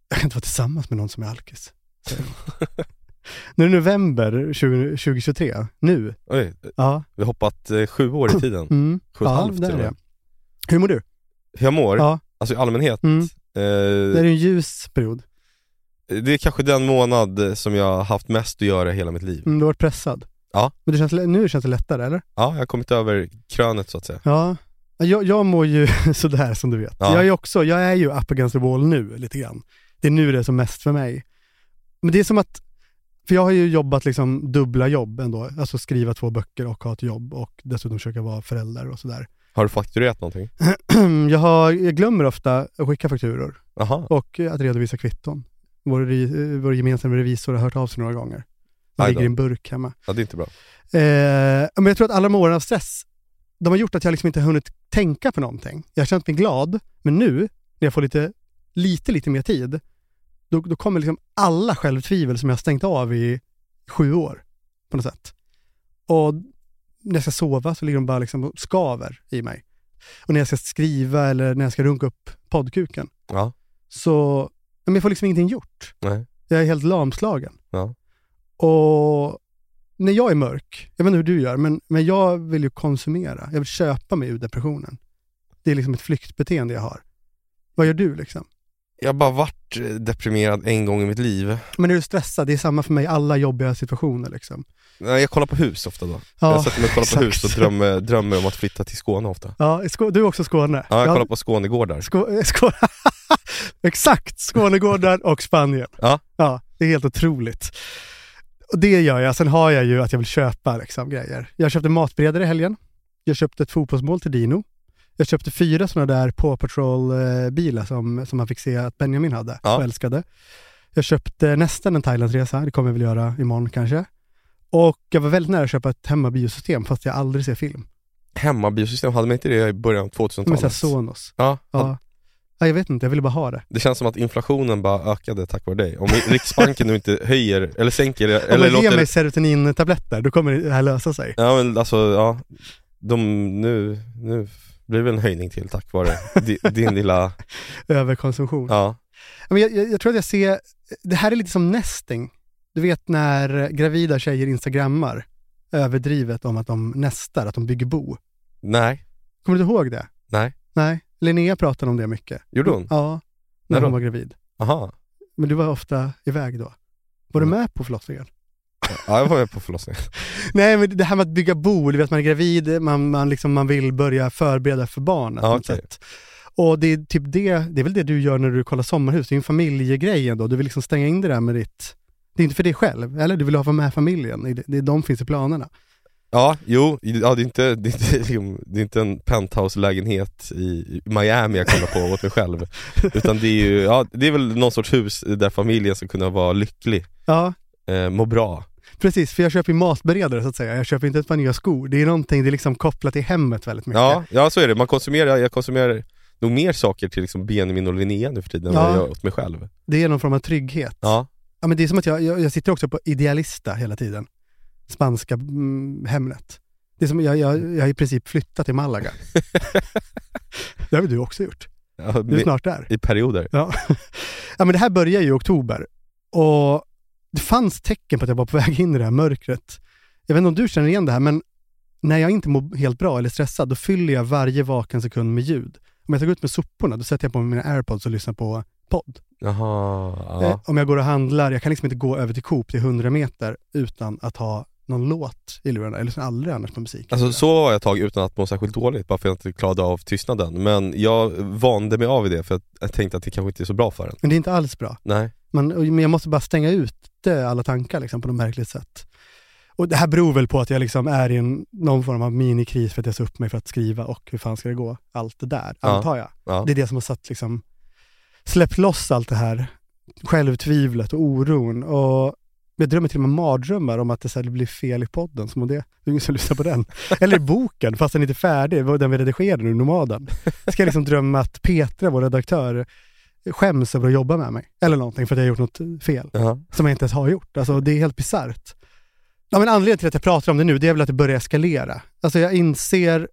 C: Jag kan inte vara tillsammans med någon som
B: [LAUGHS]
C: är alkis. säger hon. nu är det november 20, 2023. Nu.
B: Oj,
C: Ja.
B: vi har hoppat eh, sju år i tiden.
C: Mm.
B: Sju och ett
C: Ja,
B: halvt
C: där
B: till och
C: är det.
B: med.
C: Hur mår du?
B: Hur jag mår,
C: Ja.
B: alltså i allmänhet.
C: Mm. Det är
B: Eh,
C: en ljus period.
B: det är kanske den månad eh, som jag har haft mest att göra i hela mitt liv.
C: Mm, du har varit pressad.
B: Ja.
C: Men det känns, nu känns det lättare, eller?
B: Ja, jag har kommit över krönet så att säga.
C: Ja. Jag, jag mår ju [LAUGHS] sådär som du vet.
B: Ja.
C: Jag, är också, jag är ju up against the wall nu lite grann. Det är nu det är som mest för mig. Men det är som att, för jag har ju jobbat liksom dubbla jobb ändå. Alltså skriva två böcker och ha ett jobb och dessutom försöka vara förälder och sådär. [CLEARS THROAT]
B: Har du fakturerat någonting?
C: Jag, har, jag glömmer ofta att skicka fakturor
B: Aha.
C: och att redovisa kvitton. Vår, re- vår gemensamma revisor har hört av sig några gånger.
B: Aj
C: Den
B: då.
C: ligger i en burk hemma.
B: Ja, det är inte bra.
C: Eh, men jag tror att alla de åren av stress, de har gjort att jag liksom inte har hunnit tänka på någonting. Jag har känt mig glad, men nu när jag får lite, lite, lite mer tid, då, då kommer liksom alla självtvivel som jag har stängt av i sju år på något sätt. Och när jag ska sova så ligger de bara liksom och skaver i mig. Och när jag ska skriva eller när jag ska runka upp poddkuken
B: Ja.
C: så men jag får liksom ingenting gjort.
B: Nej.
C: Jag är helt lamslagen.
B: Ja.
C: Och när jag är mörk, jag vet inte hur du gör, men, men jag vill ju konsumera. Jag vill köpa mig ur depressionen. Det är liksom ett flyktbeteende jag har. Vad gör du liksom?
B: Jag har bara varit eh, deprimerad en gång i mitt liv.
C: Men är du stressad? Det är samma för mig i alla jobbiga situationer liksom.
B: Nej, Jag kollar på hus ofta då. jag sätter mig och kollar på
C: exakt.
B: hus och drömmer, drömmer om att flytta till Skåne ofta.
C: ja, Skå- du är också Skåne?
B: Ja, jag kollar på Skånegårdar.
C: Skå- Skå- eh, [LAUGHS] Exakt! Skånegårdar och Spanien.
B: Ja.
C: ja. Det är helt otroligt. Och det gör jag. Sen har jag ju att jag vill köpa liksom, grejer. Jag köpte matberedare i helgen. Jag köpte ett fotbollsmål till Dino. Jag köpte fyra sådana där Paw Patrol-bilar som, som man fick se att Benjamin hade
B: Ja.
C: och älskade. Jag köpte nästan en Thailandsresa. Det kommer jag väl göra imorgon kanske. Och jag var väldigt nära att köpa ett hemmabiosystem fast jag aldrig ser film.
B: Hemmabiosystem, hade man inte det i början av
C: Men såhär
B: 2000-talet?
C: Sonos.
B: Ja,
C: Ja. Ja, jag vet inte, jag ville bara ha det.
B: Det känns som att inflationen bara ökade tack vare dig. Om Riksbanken nu inte höjer, eller sänker,
C: Om
B: eller
C: jag ger
B: låter...
C: mig serotonintabletter, då kommer det här lösa sig.
B: Ja men alltså, ja. De, nu, nu blir det väl en höjning till tack vare di- din lilla,
C: Överkonsumtion.
B: ja.
C: Men jag, jag, jag tror att jag ser, det här är lite som nesting. Du vet när gravida tjejer instagrammar överdrivet om att de nästar, att de bygger bo.
B: Nej,
C: Kommer du inte ihåg det?
B: nej.
C: Nej, Linnea pratade om det mycket.
B: Gjorde hon?
C: Ja, när
B: När
C: hon
B: då?
C: var gravid.
B: Aha.
C: Men du var ofta iväg då. Var du
B: Mm.
C: med på förlossningen?
B: Ja, jag var med på förlossningen.
C: Nej, men det här med att bygga bo, du vet man är gravid, man, man, liksom, man vill börja förbereda för barnet. på
B: Ja,
C: något
B: okej.
C: sätt. Och det är, typ det, det är väl det du gör när du kollar sommarhus, det är ju en familjegrej ändå. Du vill liksom stänga in det där med ditt... Det är inte för dig själv, eller? Du vill ha vara med familjen, det är- det är de finns i planerna.
B: Ja, jo, ja, det, är inte, det, är inte, liksom- det är inte en penthouse-lägenhet i Miami jag kollar på åt mig själv. Utan det är ju, ja, det är väl någon sorts hus där familjen ska kunna vara lycklig,
C: Ja,
B: eh, må bra.
C: precis, för jag köper ju matberedare så att säga. Jag köper inte ett par nya skor. Det är någonting, det är liksom kopplat till hemmet väldigt mycket.
B: Ja, ja så är det. Man konsumerar, jag konsumerar nog mer saker till liksom Benjamin och Linnea nu för tiden än
C: Ja.
B: vad jag gör åt mig själv.
C: Det är någon form av trygghet.
B: Ja.
C: Ja, men det är som att jag, jag, jag sitter också på idealista hela tiden. spanska mm, Hemnet. Det är som, jag, jag, jag har i princip flyttat till Malaga. det har väl du också gjort?
B: Ja,
C: Du är
B: med,
C: snart där.
B: I perioder.
C: Ja. ja, men det här börjar ju i oktober och det fanns tecken på att jag var på [LAUGHS] väg in i det här mörkret. Jag vet inte om du känner igen det här, men när jag inte mår helt bra eller stressad, då fyller jag varje vaken sekund med ljud. Om jag tar ut med soporna, då sätter jag på mina airpods och lyssnar på podd.
B: Jaha, ja.
C: Eh, Om jag går och handlar, jag kan liksom inte gå över till Coop till 100 meter utan att ha någon låt i lurarna. Jag lyssnar aldrig annars på musik.
B: Alltså så var jag ett tag utan att må särskilt dåligt, bara för att jag inte klarade av tystnaden. Men jag vande mig av i det för att jag tänkte att det kanske inte är så bra för en.
C: Men det är inte alls bra.
B: Nej.
C: Man, och- men jag måste bara stänga ute alla tankar liksom, på något märkligt sätt. Och det här beror väl på att jag liksom är i en, någon form av minikris för att jag sa upp mig för att skriva och hur fan ska det gå? Allt det där,
B: Ja.
C: antar jag.
B: Ja.
C: Det är det som har satt liksom, släppt loss allt det här självtvivlet och oron. Och jag drömmer till och med mardrömmar om att det, så här, det blir fel i podden, som om det, det är ingen som lyssnar
B: [LAUGHS]
C: på den. Eller i boken, fast den inte är färdig, det var den vi redigerade nu, Nomaden. Ska jag liksom drömma att Petra, vår redaktör, skäms över att jobba med mig. Eller någonting, för att jag har gjort något fel
B: Jaha.
C: som jag inte ens har gjort. Alltså, det är helt bisarrt. Ja, men anledningen till att jag pratar om det nu, det är väl att det börjar eskalera. Alltså jag inser...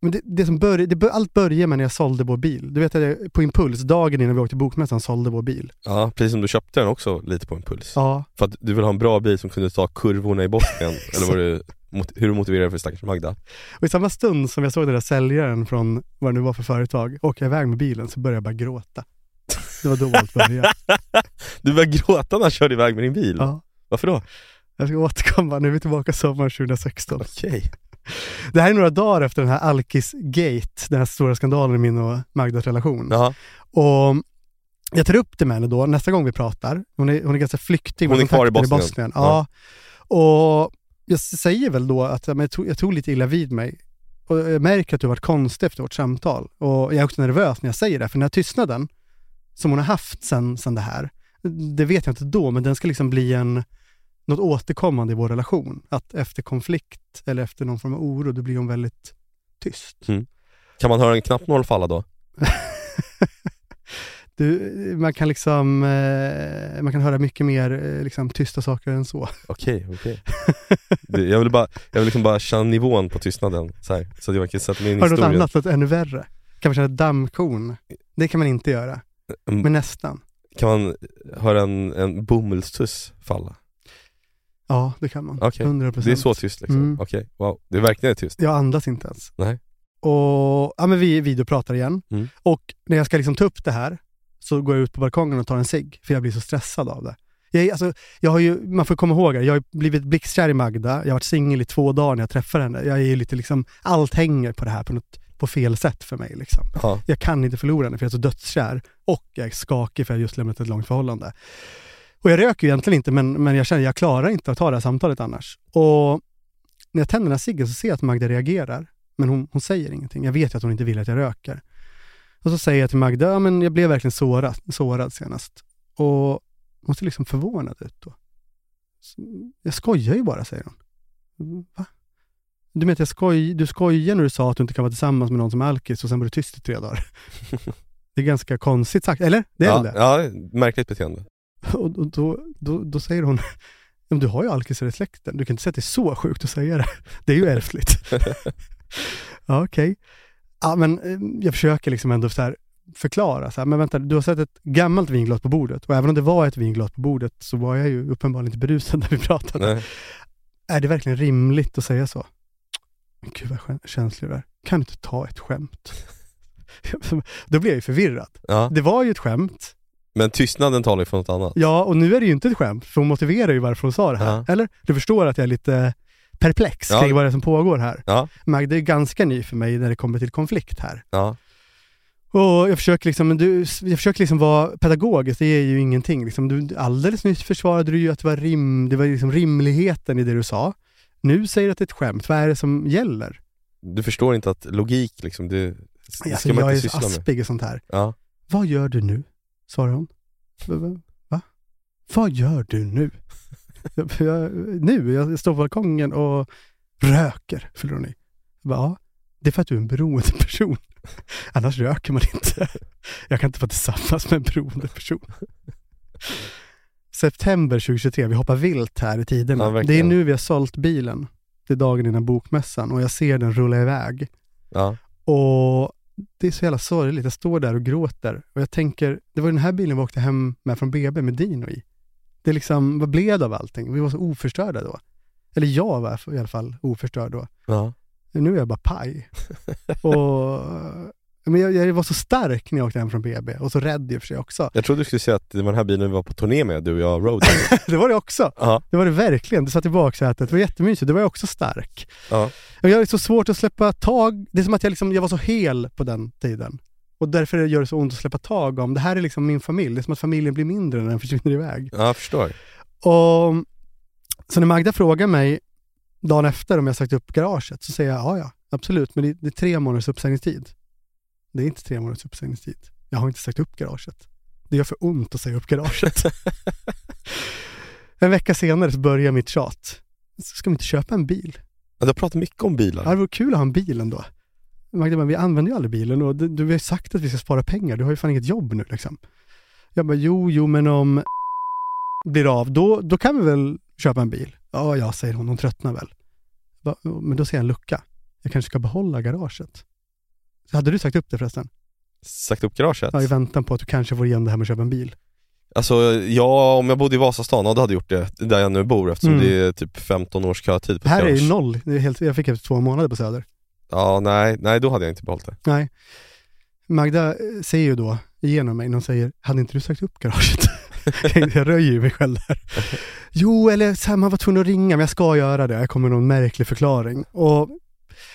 C: Men det, det som börj, det, bör- allt började med när jag sålde vår bil. Du vet att jag på impuls, dagen innan vi åkte till bokmässan, sålde vår bil.
B: ja, precis som du köpte den också lite på impuls.
C: Ja,
B: För att du vill ha en bra bil som kunde ta kurvorna i [LAUGHS] Bosnien, eller var du, mot, hur du motiverar för stackars Magda.
C: och i samma stund som jag såg den där säljaren från vad det nu var för företag åka iväg med bilen så började jag bara gråta. Det var då allt började.
B: Du började gråta när han körde iväg med din bil.
C: Ja.
B: Varför då?
C: Jag ska återkomma, nu är vi tillbaka sommaren 2016.
B: Okej.
C: Det här är några dagar efter den här Alkis-gate, den här stora skandalen i min och Magdas relation.
B: Jaha.
C: Och jag tar upp det med henne då nästa gång vi pratar. Hon är, hon är ganska flyktig. med
B: Hon är kvar i
C: kontakter
B: Bosnien.
C: Ja. Och jag s- säger väl då att ja, men jag tog, jag tog lite illa vid mig. Och jag märker att du har varit konstig efter vårt samtal. Och jag är också nervös när jag säger det, för den här tystnaden som hon har haft sen, sen det här, det vet jag inte då, men den ska liksom bli en, något återkommande i vår relation. Att efter konflikt eller efter någon form av oro, då blir hon väldigt tyst.
B: Kan man höra en knappnål falla då?
C: Du, man kan liksom, eh, man kan höra mycket mer eh, liksom, tysta saker än så.
B: Okej, okej. [LAUGHS] Det- Jag vill bara, jag vill liksom bara känna nivån på tystnaden, så, här, så att jag kan sätta mig in i
C: Har du något
B: historien.
C: annat, något ännu värre? Kan man känna ett dammkorn? Det kan man inte göra,
B: Mm.
C: men nästan.
B: Kan man höra en, en bomullstuss falla?
C: Ja, det kan man.
B: Okej.
C: 100
B: Det är så tyst liksom?
C: Mm.
B: Okej, wow. Det är verkligen tyst.
C: Jag andas inte ens.
B: Nej.
C: Och, ja, men vi videopratar igen.
B: Mm.
C: Och när jag ska liksom ta upp det här så går jag ut på balkongen och tar en cigg, för jag blir så stressad av det. Jag, är- alltså, jag har ju, man får komma ihåg det, jag har ju blivit blixtkär i Magda, jag har varit singel i två dagar när jag träffar henne. Jag är ju lite liksom, allt hänger på det här på, något, på fel sätt för mig. Liksom.
B: Ja.
C: Jag kan inte förlora henne för jag är så dödskär och jag är skakig för jag har just lämnat ett långt förhållande. Och jag röker ju egentligen inte men, men jag känner jag klarar inte att ta det här samtalet annars. Och när jag tänder den här ciggen så ser jag att Magda reagerar men hon, hon säger ingenting. Jag vet ju att hon inte vill att jag röker. Och så säger jag till Magda, ja, men jag blev verkligen sårad, sårad senast. Och hon ser liksom förvånad ut då. Så, Jag skojar ju bara, säger hon. Va? Du menar att jag skoj, du skojar när du sa att du inte kan vara tillsammans med någon som är alkis och sen var du tyst i tre dagar? Det är ganska konstigt sagt, eller? Det är
B: ja,
C: väl det?
B: ja, märkligt beteende.
C: Och, och då, då, då säger hon, men du har ju alkis i släkten, du kan inte säga att det är så sjukt att säga det. [LAUGHS] Det är ju ärftligt. ja, okej. Ja, men eh, jag försöker liksom ändå så här förklara, så här, men vänta, du har sett ett gammalt vinglas på bordet och även om det var ett vinglas på bordet så var jag ju uppenbarligen inte berusad när vi pratade.
B: Nej.
C: Är det verkligen rimligt att säga så? Men Gud vad skän- känslig du är. Kan du inte ta ett skämt? [LAUGHS] då blir jag ju förvirrad.
B: Ja.
C: Det var ju ett skämt,
B: Men tystnaden talar ju för något annat.
C: Ja, och nu är det ju inte ett skämt, för hon motiverar ju varför hon sa det här.
B: Ja.
C: Eller? Du förstår att jag är lite perplex
B: Ja.
C: kring vad det är som pågår här.
B: Ja.
C: Magda är ganska ny för mig när det kommer till konflikt här.
B: Ja.
C: Och jag försöker liksom, men du, jag försöker liksom vara pedagogisk, det är ju ingenting. Liksom, du, alldeles nyss försvarade du ju att det var, rim, det var liksom rimligheten i det du sa. Nu säger du att det är ett skämt, vad är det som gäller?
B: Du förstår inte att logik liksom, det, det
C: Alltså,
B: ska man
C: jag är
B: inte
C: så
B: syssla med.
C: aspig och sånt här.
B: Ja.
C: Vad gör du nu? svarar hon. Va? Vad gör
B: [LAUGHS]
C: du nu? Jag, jag, nu? Jag står på balkongen och röker, fyller hon i. Jag bara, Ja, det är för att du är en beroende
B: [LAUGHS]
C: person. Annars röker man inte. Jag kan inte vara tillsammans med en beroende person. September 2023, vi hoppar vilt här i tiderna.
B: Ja, verkligen.
C: det är nu vi har sålt bilen. Det är dagen innan bokmässan och jag ser den rulla iväg.
B: Ja.
C: Och det är så jävla sorgligt. Jag står där och gråter. Och jag tänker, det var den här bilen vi åkte hem med från BB med Dino i. Det är liksom, vad blev det av allting? Vi var så oförstörda då. Eller jag var i alla fall oförstörd då.
B: Ja.
C: Nu är jag bara paj. och, men jag, jag var så stark när jag åkte hem från BB och så rädd i och för sig också.
B: Jag trodde du skulle säga att det var den här bilen vi var på turné med, du och jag,
C: [LAUGHS]
B: Road.
C: Det var det också.
B: ja.
C: Det var det verkligen. Du satt i baksätet. Det var jättemysigt. Det var jag också stark.
B: Ja.
C: Jag har så svårt att släppa tag. Det är som att jag, liksom, jag var så hel på den tiden. Och därför gör det så ont att släppa tag om. Det här är liksom min familj. Det är som att familjen blir mindre när den försvinner iväg.
B: ja, jag förstår.
C: Och, så när Magda frågar mig dagen efter om jag sagt upp garaget så säger jag ja, ja, absolut. Men det, det är tre månaders uppsägningstid. Det är inte tre månaders uppsägningstid. Jag har inte sagt upp garaget. Det gör för ont att säga upp garaget. en vecka senare så börjar mitt tjat. Så ska vi inte köpa en bil?
B: Ja, Du har pratat mycket om
C: Ja, det
B: bilar.
C: vore kul att ha en bil ändå. Magda bara, vi använder ju aldrig bilen och du, du har ju sagt att vi ska spara pengar. Du har ju fan inget jobb nu liksom. Jag bara, jo, jo, men om [LAUGHS] blir av, då, då kan vi väl köpa en bil? Ja, ja, säger hon. Hon tröttnar väl. Jag bara, Men då ser jag en lucka. Jag kanske ska behålla garaget. Så hade du sagt upp det förresten?
B: Sagt upp garaget.
C: Ja, i väntan på att du kanske får igen det här med att köpa en bil.
B: Alltså ja, om jag bodde i Vasastan, ja, då hade jag gjort det där jag nu bor eftersom
C: Mm.
B: det är typ 15 års kötid på
C: Här är ju
B: garage.
C: noll. Det är helt, jag fick efter två månader på Söder.
B: Ja, nej, nej då hade jag inte behållit det.
C: Nej. Magda eh, säger ju då igenom mig, när hon säger, hade inte du sagt upp garaget? [LAUGHS] jag, jag röjer ju mig själv där. Jo, eller så här, man var tvungen att ringa, men jag ska göra det. Jag kommer med någon märklig förklaring. Och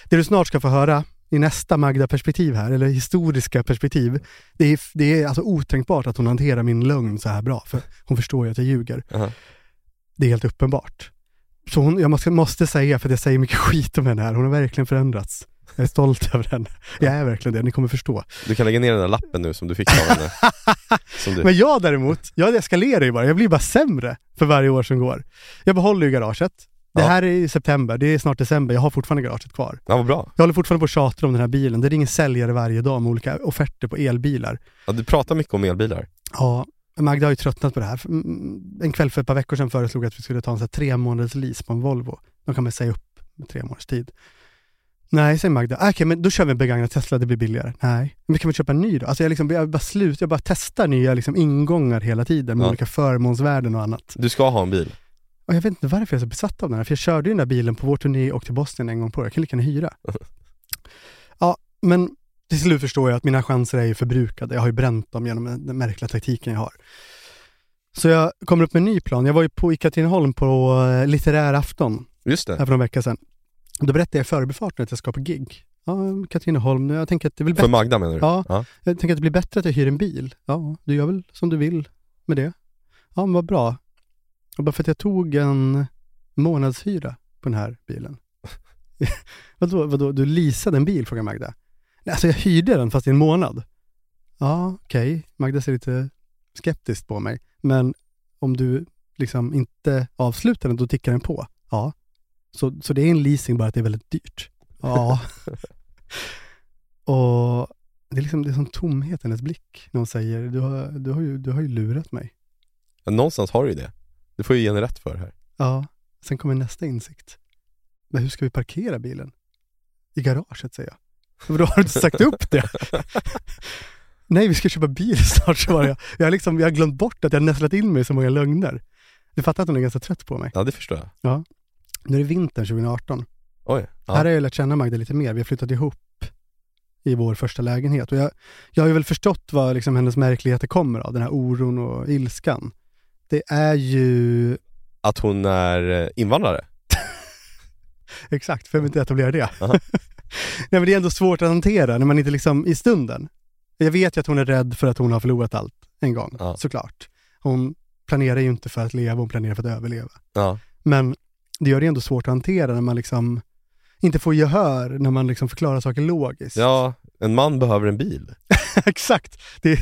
C: det du snart ska få höra i nästa Magda-perspektiv här, eller historiska perspektiv, det är, det är alltså otänkbart att hon hanterar min lögn så här bra, för hon förstår ju att jag ljuger.
B: Aha.
C: Det är helt uppenbart. Så hon, jag måste, måste säga, för att jag säger mycket [LAUGHS] skit om henne här, hon har verkligen förändrats. Jag är stolt över henne. [LAUGHS] Jag är verkligen det, ni kommer förstå.
B: Du kan lägga ner den där lappen nu som du fick av
C: [LAUGHS]
B: henne. som du...
C: Men jag däremot, jag eskalerar ju bara. Jag blir bara sämre för varje år som går. Jag behåller ju garaget. Det
B: Ja.
C: här är i september, det är snart december. Jag har fortfarande garaget kvar.
B: Ja, vad bra.
C: Jag håller fortfarande på och tjatar om den här bilen. Det ringer säljare varje dag med olika offerter på elbilar.
B: Ja, du pratar mycket om elbilar.
C: Ja, Magda har ju tröttnat på det här. Mm, En kväll för ett par veckor sedan föreslog jag att vi skulle ta en så här tre månaders lease på en Volvo. De kan man säga upp med tre månaders tid. Nej, säger Magda. Ah, Okej, men då kör vi en begagnad Tesla, det blir billigare. Nej, men kan vi köpa en ny då? Alltså jag, liksom, jag bara slut, jag bara testar nya liksom, ingångar hela tiden med
B: Ja.
C: olika förmånsvärden och annat.
B: Du ska ha en bil.
C: Och jag vet inte varför jag är så besatt av den här, för jag körde ju den där bilen på vår turné och till Bosnien en gång på Jag kan lika gärna hyra. Ja, men till slut förstår jag att mina chanser är ju förbrukade. Jag har ju bränt dem genom den märkliga taktiken jag har. Så jag kommer upp med en ny plan. Jag var ju på i Katrineholm på eh, litterär afton
B: Just det.
C: här för några veckor sedan. Och då berättade jag i förbifarten att jag ska på gig. Ja, Katrineholm, jag tänker att det är väl
B: För
C: bättre,
B: Magda menar du?
C: Ja.
B: ja.
C: jag tänker att det blir bättre att jag hyr en bil. Ja, du gör väl som du vill med det. Ja, men vad bra. Och bara för att jag tog en månadshyra på den här bilen. [LAUGHS] vadå, vadå, du leasade en bil? frågar Magda. Nej, alltså jag hyrde den fast i en månad. Ja, okej. Magda ser lite skeptiskt på mig. Men om du liksom inte avslutar den, då tickar den på. Ja. Så, så det är en leasing, bara att det är väldigt dyrt. Ja. Och det är liksom det är som tomhet i hennes blick när hon säger du har, du, har ju, du har ju lurat mig.
B: Ja, Någonstans har du ju det. Du får ju ge henne rätt för här.
C: Ja, sen kommer nästa insikt. Men hur ska vi parkera bilen? I garaget, säger jag. Men då har du inte sagt upp det? [LAUGHS] Nej, vi ska köpa bil snart, svarar jag. Jag har liksom, jag har glömt bort att jag har nästlat in mig i så många lögner. Du fattar att hon är ganska trött på mig.
B: Ja, det förstår jag.
C: Nu är det vintern 2018.
B: Oj. Ja.
C: Här har jag lärt känna Magda lite mer. Vi har flyttat ihop i vår första lägenhet. Och jag, jag har ju väl förstått vad liksom hennes märkligheter kommer av, den här oron och ilskan. Det är ju...
B: Att hon är eh, invandrare.
C: Exakt, vem vill inte etablera det?
B: Aha.
C: [LAUGHS] Nej men det är ändå svårt att hantera när man inte liksom i stunden. Jag vet ju att hon är rädd för att hon har förlorat allt en gång,
B: Ja.
C: såklart. Hon planerar ju inte för att leva, hon planerar för att överleva.
B: Ja.
C: Men det gör det ändå svårt att hantera när man liksom inte får gehör när man liksom förklarar saker logiskt.
B: ja, en man behöver en bil.
C: [LAUGHS] Exakt! Det,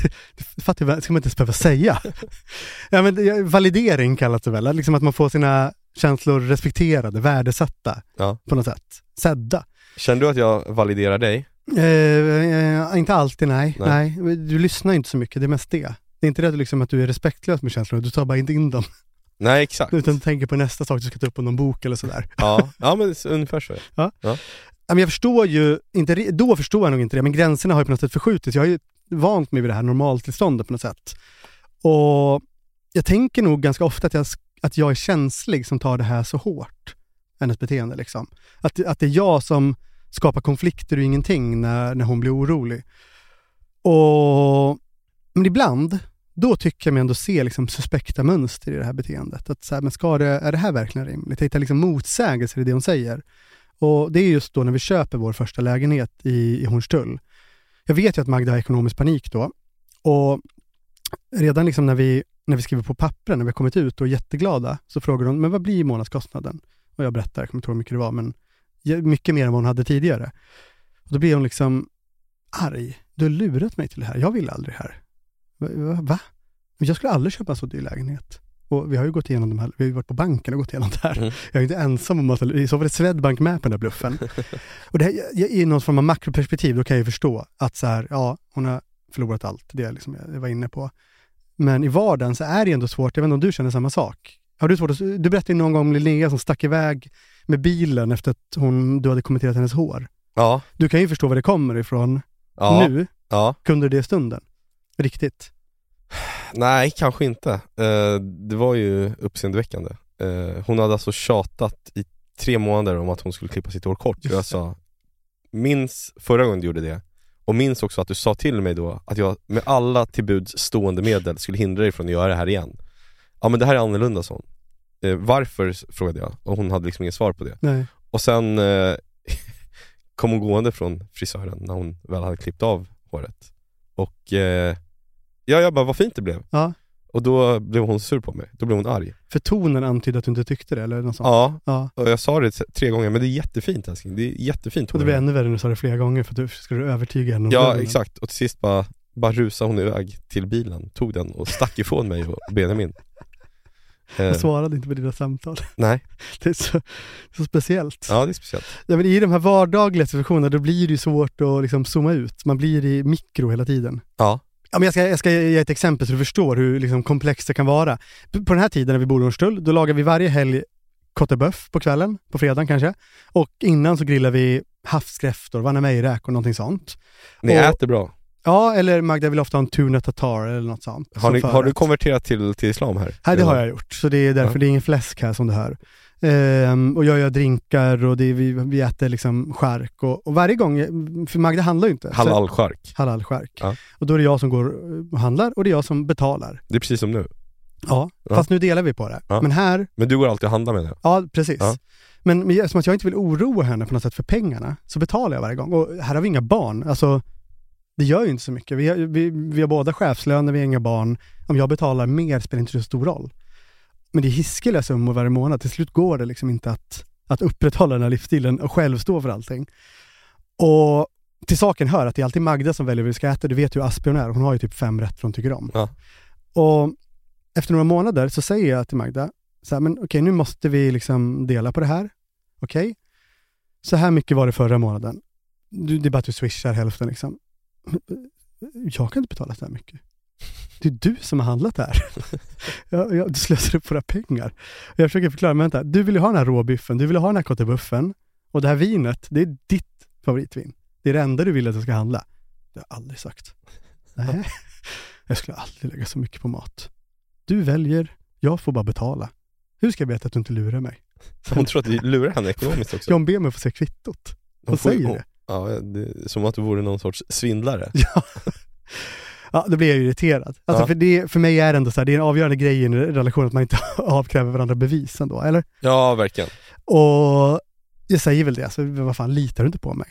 C: det fattar jag, det ska man inte ens behöva säga. [LAUGHS] ja, men det, validering kallas det väl? Liksom att man får sina känslor respekterade, värdesatta
B: Ja.
C: på något sätt. Sedda.
B: Känner du att jag validerar dig?
C: Eh, eh, inte alltid, nej. nej.
B: Nej.
C: Du lyssnar ju inte så mycket, det är mest det. Det är inte det att du liksom att du är respektlös med känslorna, du tar bara inte in dem. [LAUGHS]
B: Nej exakt.
C: Utan du tänker på nästa sak du ska ta upp på någon bok eller sådär.
B: Ja, ja men s- ungefär så.
C: Ja, men jag förstår ju, inte, ri- då förstår jag nog inte det, men gränserna har ju på något sätt förskjutits. Jag har ju vant mig vid det här normaltillståndet på något sätt. Och jag tänker nog ganska ofta att jag, sk- att jag är känslig som tar det här så hårt, hennes beteende liksom. Att, att det är jag som skapar konflikter och ingenting när, när hon blir orolig. Och, men ibland, då tycker jag mig ändå se liksom suspekta mönster i det här beteendet. Att så här, men ska det, är det här verkligen rimligt? Jag hittar liksom motsägelser i det hon säger. Och det är just då när vi köper vår första lägenhet i, i Hornstull. Jag vet ju att Magda har ekonomisk panik då. Och redan liksom när vi, när vi skriver på pappren, när vi har kommit ut och är jätteglada, så frågar hon, men vad blir månadskostnaden? Och jag berättar, jag kommer inte ihåg hur mycket det var, men j- mycket mer än vad hon hade tidigare. Och då blir hon liksom arg. Du har lurat mig till det här. Jag vill aldrig det här. Va- Va? va? Men Jag skulle aldrig köpa en så dyr lägenhet. Och vi har ju gått igenom de här, vi har ju varit på banken och gått igenom det här.
B: Mm.
C: Jag är inte ensam om att, i så fall är Swedbank med på den där bluffen. Och det här, jag- jag- I någon form av makroperspektiv, då kan jag ju förstå att så här, ja, hon har förlorat allt, det är liksom jag var inne på. Men i vardagen så är det ändå svårt, jag vet inte om du känner samma sak? Har du, svårt att, du berättade ju någon gång om Linnea som stack iväg med bilen efter att hon, du hade kommenterat hennes hår.
B: Ja,
C: Du kan ju förstå var det kommer ifrån.
B: ja,
C: Nu
B: ja.
C: kunde du det i stunden. Riktigt.
B: Nej, kanske inte. Eh, det var ju uppseendeväckande. Eh, hon hade alltså tjatat i tre månader om att hon skulle klippa sitt hår kort.
C: Just det.
B: Jag sa, minns förra gången du gjorde det, och minns också att du sa till mig då att jag med alla till buds stående medel skulle hindra dig från att göra det här igen. Ja men det här är annorlunda sa hon. Eh, varför? s- frågade jag, och hon hade liksom inget svar på det.
C: Nej.
B: Och sen eh, [LAUGHS] kom hon gående från frisören när hon väl hade klippt av håret. Och eh, ja, jag bara, vad fint det blev.
C: Ja.
B: Och då blev hon sur på mig, då blev hon arg.
C: För tonen antydde att du inte tyckte det eller något sånt.
B: Ja,
C: ja.
B: och jag sa det tre gånger, men det är jättefint älskling, det är jättefint
C: Och det blev
B: hår.
C: ännu värre när du sa det flera gånger för att du skulle övertyga henne om
B: Ja,
C: lögnen.
B: exakt. Och till sist bara, bara rusade hon iväg till bilen, tog den och stack ifrån mig och Benjamin. Eh,
C: Jag svarade inte på dina samtal. [LAUGHS]
B: nej,
C: Det är så, så speciellt. Ja.
B: ja det är speciellt.
C: men I de här vardagliga situationerna då blir det ju svårt att liksom zooma ut. Man blir i mikro hela tiden.
B: Ja.
C: Ja, men jag, ska, jag ska ge ett exempel så du förstår hur liksom komplext det kan vara. P- På den här tiden när vi bodde i Hornstull, då lagar vi varje helg kotte bœuf på kvällen, på fredagen kanske. Och innan så grillar vi havskräftor, vanna mejräkor, någonting sånt.
B: Ni
C: Och-
B: äter bra.
C: Ja, eller Magda vill ofta ha en tuna tatar eller något sånt.
B: Har,
C: som
B: ni, har du
C: förrätt.
B: konverterat till, till islam här?
C: Nej, det har jag gjort. Så det är därför
B: Ja.
C: det är ingen fläsk här som du hör. Ehm, och jag gör drinkar och det är, vi, vi äter liksom skärk. Och, och varje gång, för Magda handlar ju
B: Eh,
C: inte. Så-
B: Halal-chark.
C: Halal-skärk.
B: Ja.
C: Och då är det jag som går och handlar och det är jag som betalar.
B: Det är precis som nu.
C: Ja,
B: Ja.
C: fast nu delar vi på det.
B: Ja.
C: Men här,
B: Men du går alltid och handlar med det?
C: ja precis.
B: Ja.
C: Men, men eftersom att jag inte vill oroa henne på något sätt för pengarna så betalar jag varje gång. Och här har vi inga barn. Alltså, det gör ju inte så mycket. Vi har, vi, vi har båda chefslöner, vi har inga barn. Om jag betalar mer spelar inte så stor roll. Men det är hiskeliga summor varje månad. Till slut går det liksom inte att, att upprätthålla den här livsstilen och själv stå för allting. Och till saken hör att det är alltid Magda som väljer vad vi ska äta. Du vet ju hur Asbjörn är. Hon har ju typ fem rätter hon tycker om.
B: Ja.
C: Och efter några månader så säger jag till Magda, så här, men okej nu måste vi liksom dela på det här. Okej? Så här mycket var det förra månaden. Du, det är bara att du swishar hälften liksom. Jag kan inte betala så här mycket. Det är du som har handlat det här. Jag, jag, du slösar upp våra pengar. Och Jag försöker förklara, men vänta. Du vill ju ha den här råbiffen, du vill ha den här kottebuffen och det här vinet, det är ditt favoritvin. Det är det enda du vill att jag ska handla. Det har jag aldrig sagt. Nej. Jag skulle aldrig lägga så mycket på mat. Du väljer, jag får bara betala. Hur ska jag veta att du inte lurar mig?
B: Hon tror att du lurar henne ekonomiskt också.
C: John ber mig få se kvittot.
B: Hon
C: Hon
B: får ju-
C: säger
B: hon-
C: det.
B: Ja, det, som att du vore någon sorts svindlare.
C: Ja, då blir jag ju irriterad. Alltså
B: Ja.
C: för, det, för mig är det ändå så här, det är en avgörande grej i en relation att man inte [LAUGHS] avkräver varandra bevis ändå, eller?
B: Ja, verkligen.
C: Och jag säger väl det, alltså, vad fan, litar du inte på mig?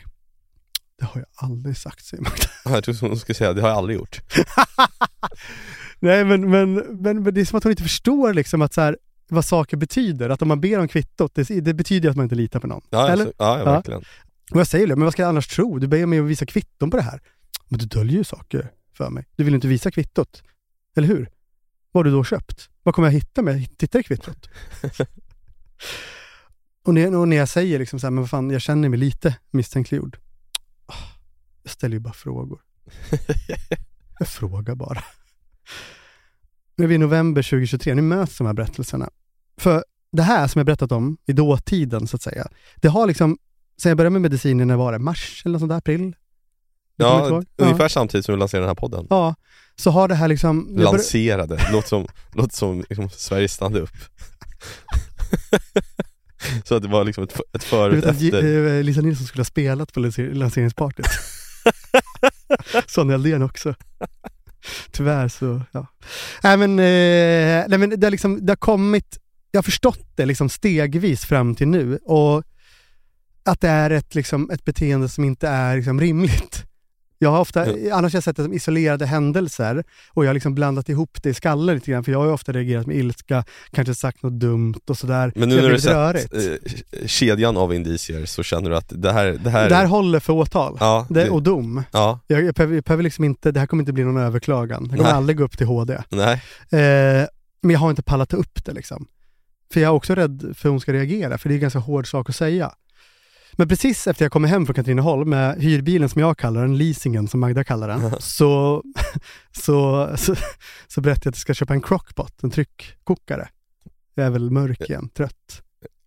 C: Det har jag aldrig sagt, säger Magda.
B: Ja, Jag trodde hon skulle säga, det har jag aldrig gjort.
C: [LAUGHS] Nej, men, men, men, men det är som att hon inte förstår liksom att så här, vad saker betyder. Att om man ber om kvittot, det, det betyder ju att man inte litar på någon.
B: Ja,
C: Eller?
B: alltså, ja, ja
C: Ja. [LAUGHS]
B: verkligen.
C: Och jag säger det, men vad ska jag annars tro? Du ber mig att visa kvitton på det här. Men du döljer ju saker för mig. Du vill inte visa kvittot. Eller hur? Vad har du då köpt? Vad kommer jag hitta med? Jag tittar i kvittot. och, när, och när jag säger liksom så här, men vad fan, jag känner mig lite misstänkliggjord. Ah, Jag ställer ju bara frågor. Jag frågar bara. Nu är vi i november 2023, nu möts de här berättelserna. För det här som jag berättat om i dåtiden så att säga, det har liksom, sen jag började med medicinen, när var det? Mars eller något sånt där? April? Jag kommer inte
B: Ja,
C: ihåg.
B: ungefär
C: ja,
B: samtidigt som vi lanserade den här podden.
C: ja, så har det här liksom... jag började-
B: Lanserade, låter som, låter som liksom, Sveriges stand-up. [LAUGHS] Så att det var liksom ett, f- ett
C: Du
B: förut
C: vet att
B: efter.
C: J- eh, Lisa Nilsson skulle ha spelat på
B: [LAUGHS]
C: lanser- lanseringspartyt. Sonja Aldén också. Tyvärr så, ja. Nej men, eh, nej, men det, har liksom, det har kommit, jag har förstått det liksom stegvis fram till nu och att det är ett, liksom, ett beteende som inte är liksom, rimligt. Jag har ofta, Annars har jag sett det som isolerade händelser och jag har liksom blandat ihop det i skallen lite grann för jag har ju ofta reagerat med ilska, kanske sagt något dumt och sådär.
B: Men
C: Det
B: nu när
C: har
B: du
C: blivit
B: sett eh, kedjan av indicier så känner du att det här, det här,
C: Det här håller för åtal.
B: ja,
C: Det,
B: det,
C: och dom.
B: ja,
C: Jag, jag, behöver, jag behöver liksom inte, det här kommer inte bli någon överklagan. Jag kommer
B: Nej.
C: aldrig gå upp till HD. Eh,
B: nej,
C: men jag har inte pallat ta upp det liksom. För jag är också rädd för hur hon ska reagera, för det är en ganska hård sak att säga. Men precis efter jag kommer hem från Katrineholm med hyrbilen som jag kallar den, leasingen som Magda kallar den, så, så, så, så berättar jag att jag ska köpa en crockpot, en tryckkokare. Jag är väl mörk igen, trött.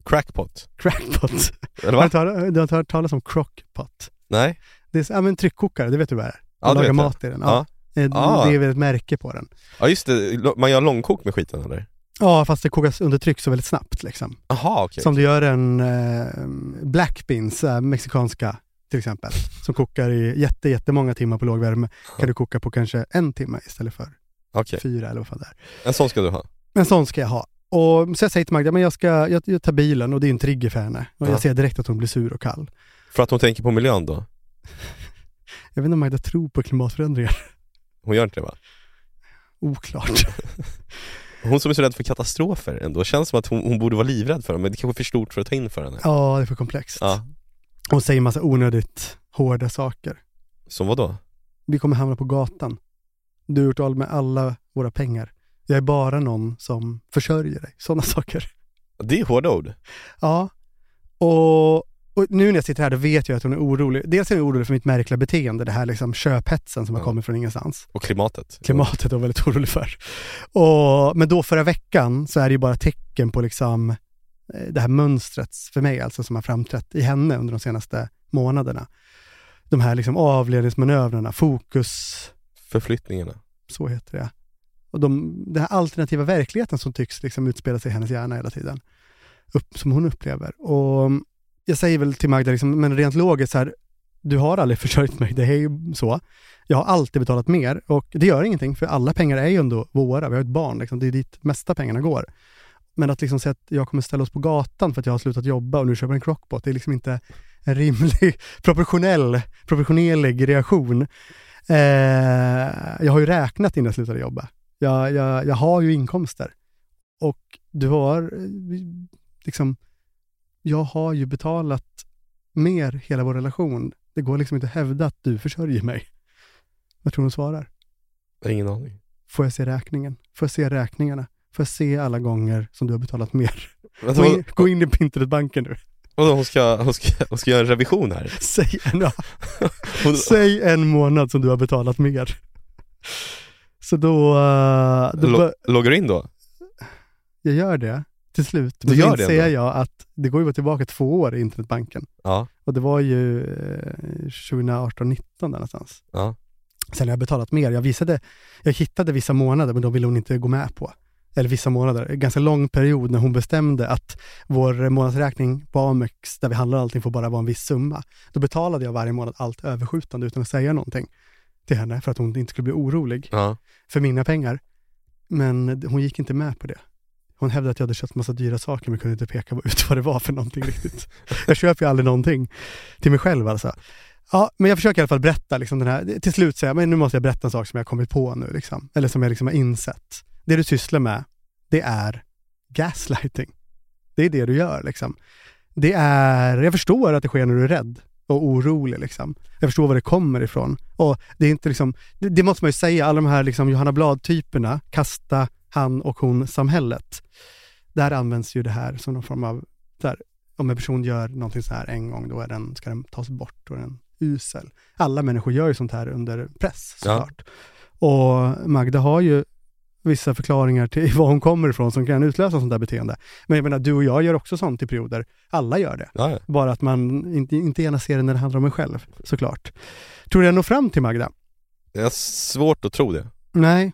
B: crackpot.
C: Crackpot.
B: Eller va?
C: Har du, hört, du har inte hört talas om crockpot?
B: Nej?
C: Det är, så- ja, men tryckkokare, det vet du vad det är?
B: Ja, du
C: och laga
B: vet det.
C: mat i den. Ja. Eh,
B: Ah.
C: Det är väl ett märke på den.
B: ja just det, Lo- man gör långkok med skiten eller?
C: Ja, fast det kokas under tryck så väldigt snabbt. Liksom.
B: Jaha okej.
C: Som du gör en eh, black beans, eh, mexikanska till exempel, som kokar i jätte, jättemånga timmar på låg värme, kan du koka på kanske en timme istället för
B: Okej.
C: fyra eller vad fan det är.
B: En sån ska du ha.
C: En sån ska jag ha. Och, så jag säger till Magda, men jag, ska, jag, jag tar bilen och det är en trigger för henne. Och
B: Ja.
C: jag ser direkt att hon blir sur och kall.
B: För att hon tänker på miljön då?
C: Jag vet inte om Magda tror på klimatförändringar. [LAUGHS]
B: Hon gör inte det va?
C: Oklart.
B: Mm. Hon som är så rädd för katastrofer ändå, känns som att hon, hon borde vara livrädd för dem, men det kanske är för stort för att ta in för henne.
C: Ja, det är för komplext.
B: Ja.
C: Hon säger massa onödigt hårda saker.
B: Som vadå?
C: vi kommer hamna på gatan. Du har gjort av med alla våra pengar. Jag är bara någon som försörjer dig. Sådana [LAUGHS] saker.
B: Det är hårda ord.
C: Ja. Och, och nu när jag sitter här, då vet jag att hon är orolig. Dels är hon orolig för mitt märkliga beteende, det här liksom köphetsen som har
B: Ja.
C: kommit från ingenstans.
B: Och klimatet.
C: Klimatet är hon väldigt orolig för. Och, men då förra veckan så är det ju bara tecken på liksom eh, det här mönstret för mig, alltså som har framträtt i henne under de senaste månaderna. De här liksom avledningsmanövrarna, fokus
B: Förflyttningarna.
C: så heter det. Och de, den här alternativa verkligheten som tycks liksom utspela sig i hennes hjärna hela tiden, upp, som hon upplever. Och mm, jag säger väl till Magda, liksom, men rent logiskt, så här, du har aldrig [LAUGHS] försörjt mig, det är ju så. Jag har alltid betalat mer och det gör ingenting, för alla pengar är ju ändå våra. Vi har ett barn, liksom, det är dit mesta pengarna går. Men att liksom säga att jag kommer ställa oss på gatan för att jag har slutat jobba och nu köper en crockpot, det är liksom inte en rimlig, [LAUGHS] proportionell, proportionerlig reaktion. Eh, jag har ju räknat innan jag slutade jobba. Jag, jag, jag har ju inkomster. Och du har eh, liksom, jag har ju betalat mer hela vår relation. Det går liksom inte att hävda att du försörjer mig. Vad tror du hon svarar?
B: Jag har ingen aning.
C: Får jag se räkningen? Får jag se räkningarna? Får jag se alla gånger som du har betalat mer?
B: Vänta,
C: Gå
B: hon,
C: in, gå in i Pinterest-banken nu.
B: vadå, hon, ska, hon, ska, hon ska göra en revision här?
C: [LAUGHS] Säg en,
B: Hon,
C: [LAUGHS] säg en månad som du har betalat mer. Så då... eh, då bör-
B: lo, loggar du in då?
C: jag gör det till slut.
B: Du
C: Men
B: gör
C: då
B: det
C: inser
B: ändå?
C: jag att det går ju bara tillbaka två år i internetbanken.
B: Ja.
C: Och det var ju eh, 2018-19 där någonstans.
B: Ja.
C: Sen har jag betalat mer. Jag visade, jag hittade vissa månader men de ville hon inte gå med på. Eller vissa månader, en ganska lång period när hon bestämde att vår månadsräkning på Amex där vi handlar allting får bara vara en viss summa. Då betalade jag varje månad allt överskjutande utan att säga någonting till henne för att hon inte skulle bli orolig
B: ja.
C: för mina pengar. Men hon gick inte med på det. Hon hävdade att jag hade köpt massa dyra saker men kunde inte peka ut vad det var för någonting riktigt. Jag köper ju aldrig någonting till mig själv alltså. Ja, men jag försöker i alla fall berätta liksom den här, till slut säger jag, men nu måste jag berätta en sak som jag har kommit på nu liksom. Eller som jag liksom har insett. Det du sysslar med, det är gaslighting. Det är det du gör liksom. Det är, jag förstår att det sker när du är rädd och orolig liksom. Jag förstår var det kommer ifrån. Och det är inte liksom, det, det måste man ju säga, alla de här liksom Johanna Blad-typerna, kasta han och hon-samhället. Där används ju det här som någon form av, där, om en person gör någonting så här en gång, då är den, ska den tas bort och den usel. Alla människor gör ju sånt här under press
B: Ja.
C: såklart. Och Magda har ju vissa förklaringar till [LAUGHS] var hon kommer ifrån som kan utlösa sånt där beteende. Men jag menar, du och jag gör också sånt i perioder. Alla gör det.
B: Ja, ja.
C: Bara att man inte, inte gärna ser det när det handlar om en själv, såklart. Tror du jag når fram till Magda?
B: Jag har svårt att tro det.
C: Nej,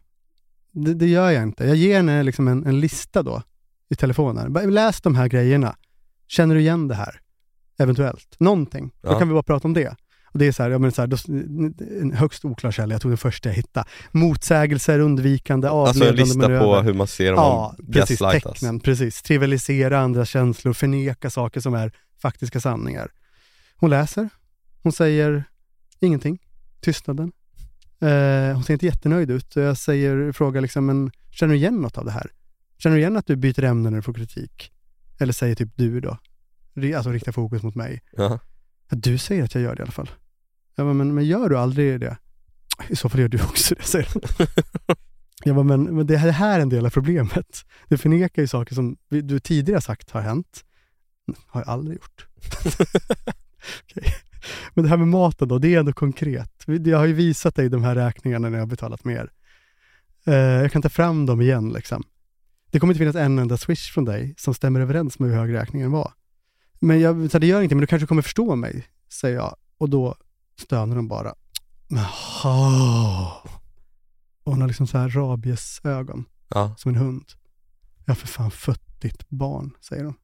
C: det, det gör jag inte. Jag ger henne liksom en, en lista då i telefonen. Bara, Läs de här grejerna. Känner du igen det här? Eventuellt. Någonting. Då
B: Ja.
C: kan vi bara prata om det. Och det är så här, ja, men så här då, en högst oklar källa, jag tog den första jag hittade. Motsägelser, undvikande,
B: Alltså en
C: avledande
B: lista på
C: manöver.
B: hur man ser om
C: Ja,
B: man
C: precis.
B: gaslightas.
C: Tecknen, precis. Trivialisera andras känslor, förneka saker som är faktiska sanningar. Hon läser. Hon säger ingenting. Tystnaden. Eh, hon ser inte jättenöjd ut. Så Jag säger, frågar liksom, men känner du igen något av det här? Känner du igen att du byter ämne när du får kritik? Eller säger typ du då? Ri- Alltså riktar fokus mot mig.
B: Ja.
C: Ja, du säger att jag gör det i alla fall. Jag bara, men, men gör du aldrig det? I så fall gör du också det, säger hon. Jag bara, men, men det här- det här är en del av problemet. Du förnekar ju saker som vi- du tidigare har sagt har hänt. Har jag aldrig gjort. Okej. Men det här med maten då, det är ändå konkret. Vi- Jag har ju visat dig de här räkningarna när jag har betalat mer. Eh, jag kan ta fram dem igen liksom. Det kommer inte finnas en enda swish från dig som stämmer överens med hur hög räkningen var. Men jag, så här, det gör ingenting, men du kanske kommer förstå mig, säger jag. Och då stönar hon bara. Jaha. Och hon har liksom så här rabiesögon,
B: Ja.
C: som en hund. Jag har för fan fött ditt barn,
B: [LAUGHS]
C: säger hon.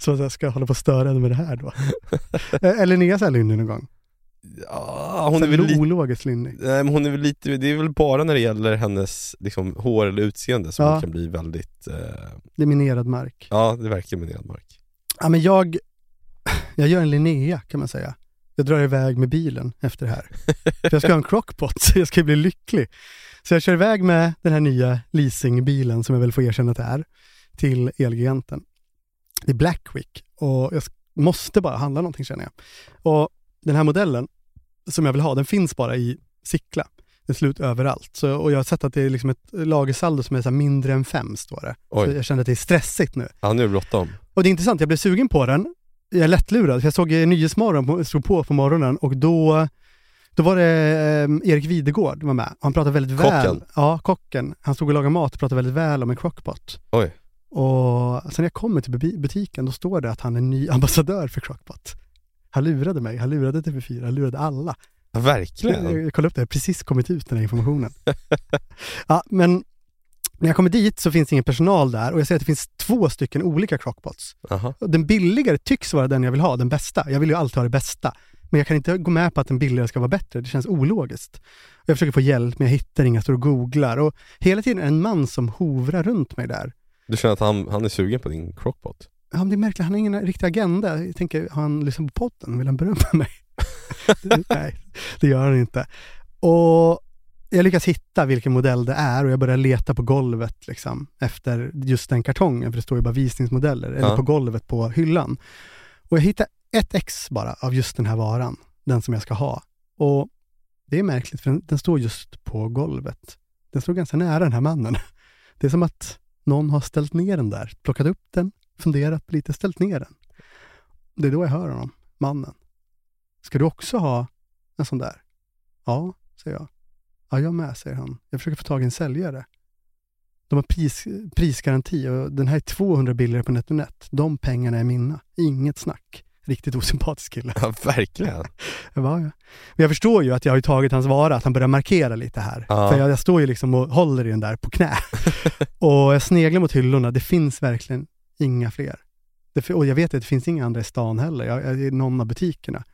C: så jag ska jag hålla på och störa henne med det här då? Eh, Eller Linnea så här lynnig någon gång?
B: ja, hon
C: Så
B: är
C: här
B: väl lite...
C: Ologiskt lynnig.
B: Nej, men hon är väl lite, det är väl bara när det gäller hennes liksom, hår eller utseende som
C: Ja.
B: hon kan bli väldigt, eh,
C: Det är minerad mark.
B: ja det verkar min mark.
C: Ja, men jag, [LAUGHS] jag gör en Linnea kan man säga. Jag drar iväg med bilen efter det här. För jag ska ha en crockpot, så jag ska bli lycklig. Så jag kör iväg med den här nya leasingbilen, som jag väl får erkänna att det är, till Elgiganten. Det är Blackwick och jag s- måste bara handla någonting känner jag. Och den här modellen som jag vill ha, den finns bara i Sickla. Den är slut överallt. Så, och jag har sett att det är liksom ett lagersaldo som är så här mindre än fem, står det. Så
B: Oj.
C: jag känner att det är stressigt nu.
B: Ja, nu är det bråttom.
C: Och det är intressant, jag blev sugen på den. Jag är lättlurad, för jag såg eh, Nyhetsmorgon, på, slog på på morgonen och då, då var det eh, Erik Videgård var med. Han pratade väldigt väl.
B: Kocken?
C: Ja, kocken. Han stod och lagade mat och pratade väldigt väl om en crockpot.
B: Oj.
C: Och sen när jag kommer till bu- butiken, då står det att han är ny ambassadör för crockpot. Han lurade mig, han lurade TV4, han lurade alla.
B: Ja,
C: Jag,
B: verkligen.
C: jag kollade upp det, det har precis kommit ut den här informationen. [LAUGHS] ja, men när jag kommer dit så finns det ingen personal där och jag ser att det finns två stycken olika crockpots.
B: Aha.
C: Och Den billigare tycks vara den jag vill ha, den bästa. Jag vill ju alltid ha det bästa. Men jag kan inte gå med på att den billigare ska vara bättre. Det känns ologiskt. Och jag försöker få hjälp, men jag hittar inga. Jag står och googlar. Och hela tiden är det en man som hovrar runt mig där.
B: Du känner att han, han är sugen på din crockpot?
C: Ja, men det är märkligt, han har ingen riktig agenda. Jag tänker, har han lyssnat på podden? Vill han berömma mig? Det- Nej, det gör han inte. Och jag lyckas hitta vilken modell det är och jag börjar leta på golvet liksom, efter just den kartongen, för det står ju bara visningsmodeller, eller
B: Ja.
C: på golvet på hyllan. Och jag hittar ett ex bara av just den här varan, den som jag ska ha. Och det är märkligt, för den, den står just på golvet. Den står ganska nära den här mannen. Det är som att någon har ställt ner den där, plockat upp den, funderat lite, ställt ner den. Det är då jag hör honom, mannen. Ska du också ha en sån där? Ja, säger jag. Ja, jag med, säger han. Jag försöker få tag i en säljare. De har pris, prisgaranti och den här är 200 billigare på NetOnNet. De pengarna är mina. Inget snack. Riktigt osympatisk kille. [LAUGHS]
B: Ja, verkligen.
C: Jag bara, ja. Men jag förstår ju att jag har ju tagit hans vara, att han börjar markera lite här.
B: Ja. [LAUGHS]
C: För jag, jag står ju liksom och håller i den där på knä. och jag sneglar mot hyllorna, det finns verkligen inga fler. Det, fi- och jag vet att det finns inga andra i stan heller, jag, jag, i någon av butikerna.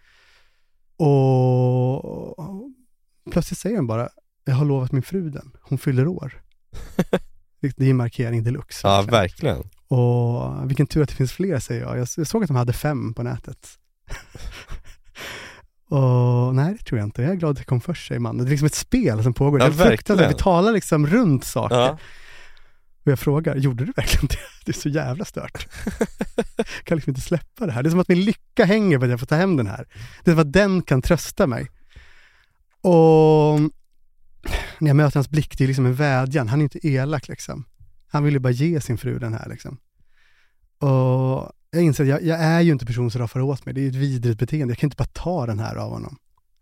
C: Och, och plötsligt säger han bara, jag har lovat min fru den, hon fyller år. Det det är markering deluxe. liksom.
B: Ja,
C: verkligen.
B: verkligen.
C: Och vilken tur att det finns fler, säger jag. Jag såg att de hade fem på nätet. [LAUGHS] och nej, det tror jag inte. Jag är glad att det kom först, säger mannen. Det är liksom ett spel som pågår.
B: Ja,
C: det är fruktansvärt.
B: verkligen.
C: Vi talar liksom runt saker.
B: Ja.
C: Och jag frågar, gjorde du verkligen det? [LAUGHS] Det är så jävla stört. jag kan liksom inte släppa det här. Det är som att min lycka hänger på att jag får ta hem den här. Det är som att den kan trösta mig. Och när jag möter hans blick, det är liksom en vädjan. Han är inte elak liksom. Han vill ju bara ge sin fru den här liksom. Och jag inser att jag, jag är ju inte person som raffar åt mig. Det är ju ett vidrigt beteende. Jag kan inte bara ta den här av honom.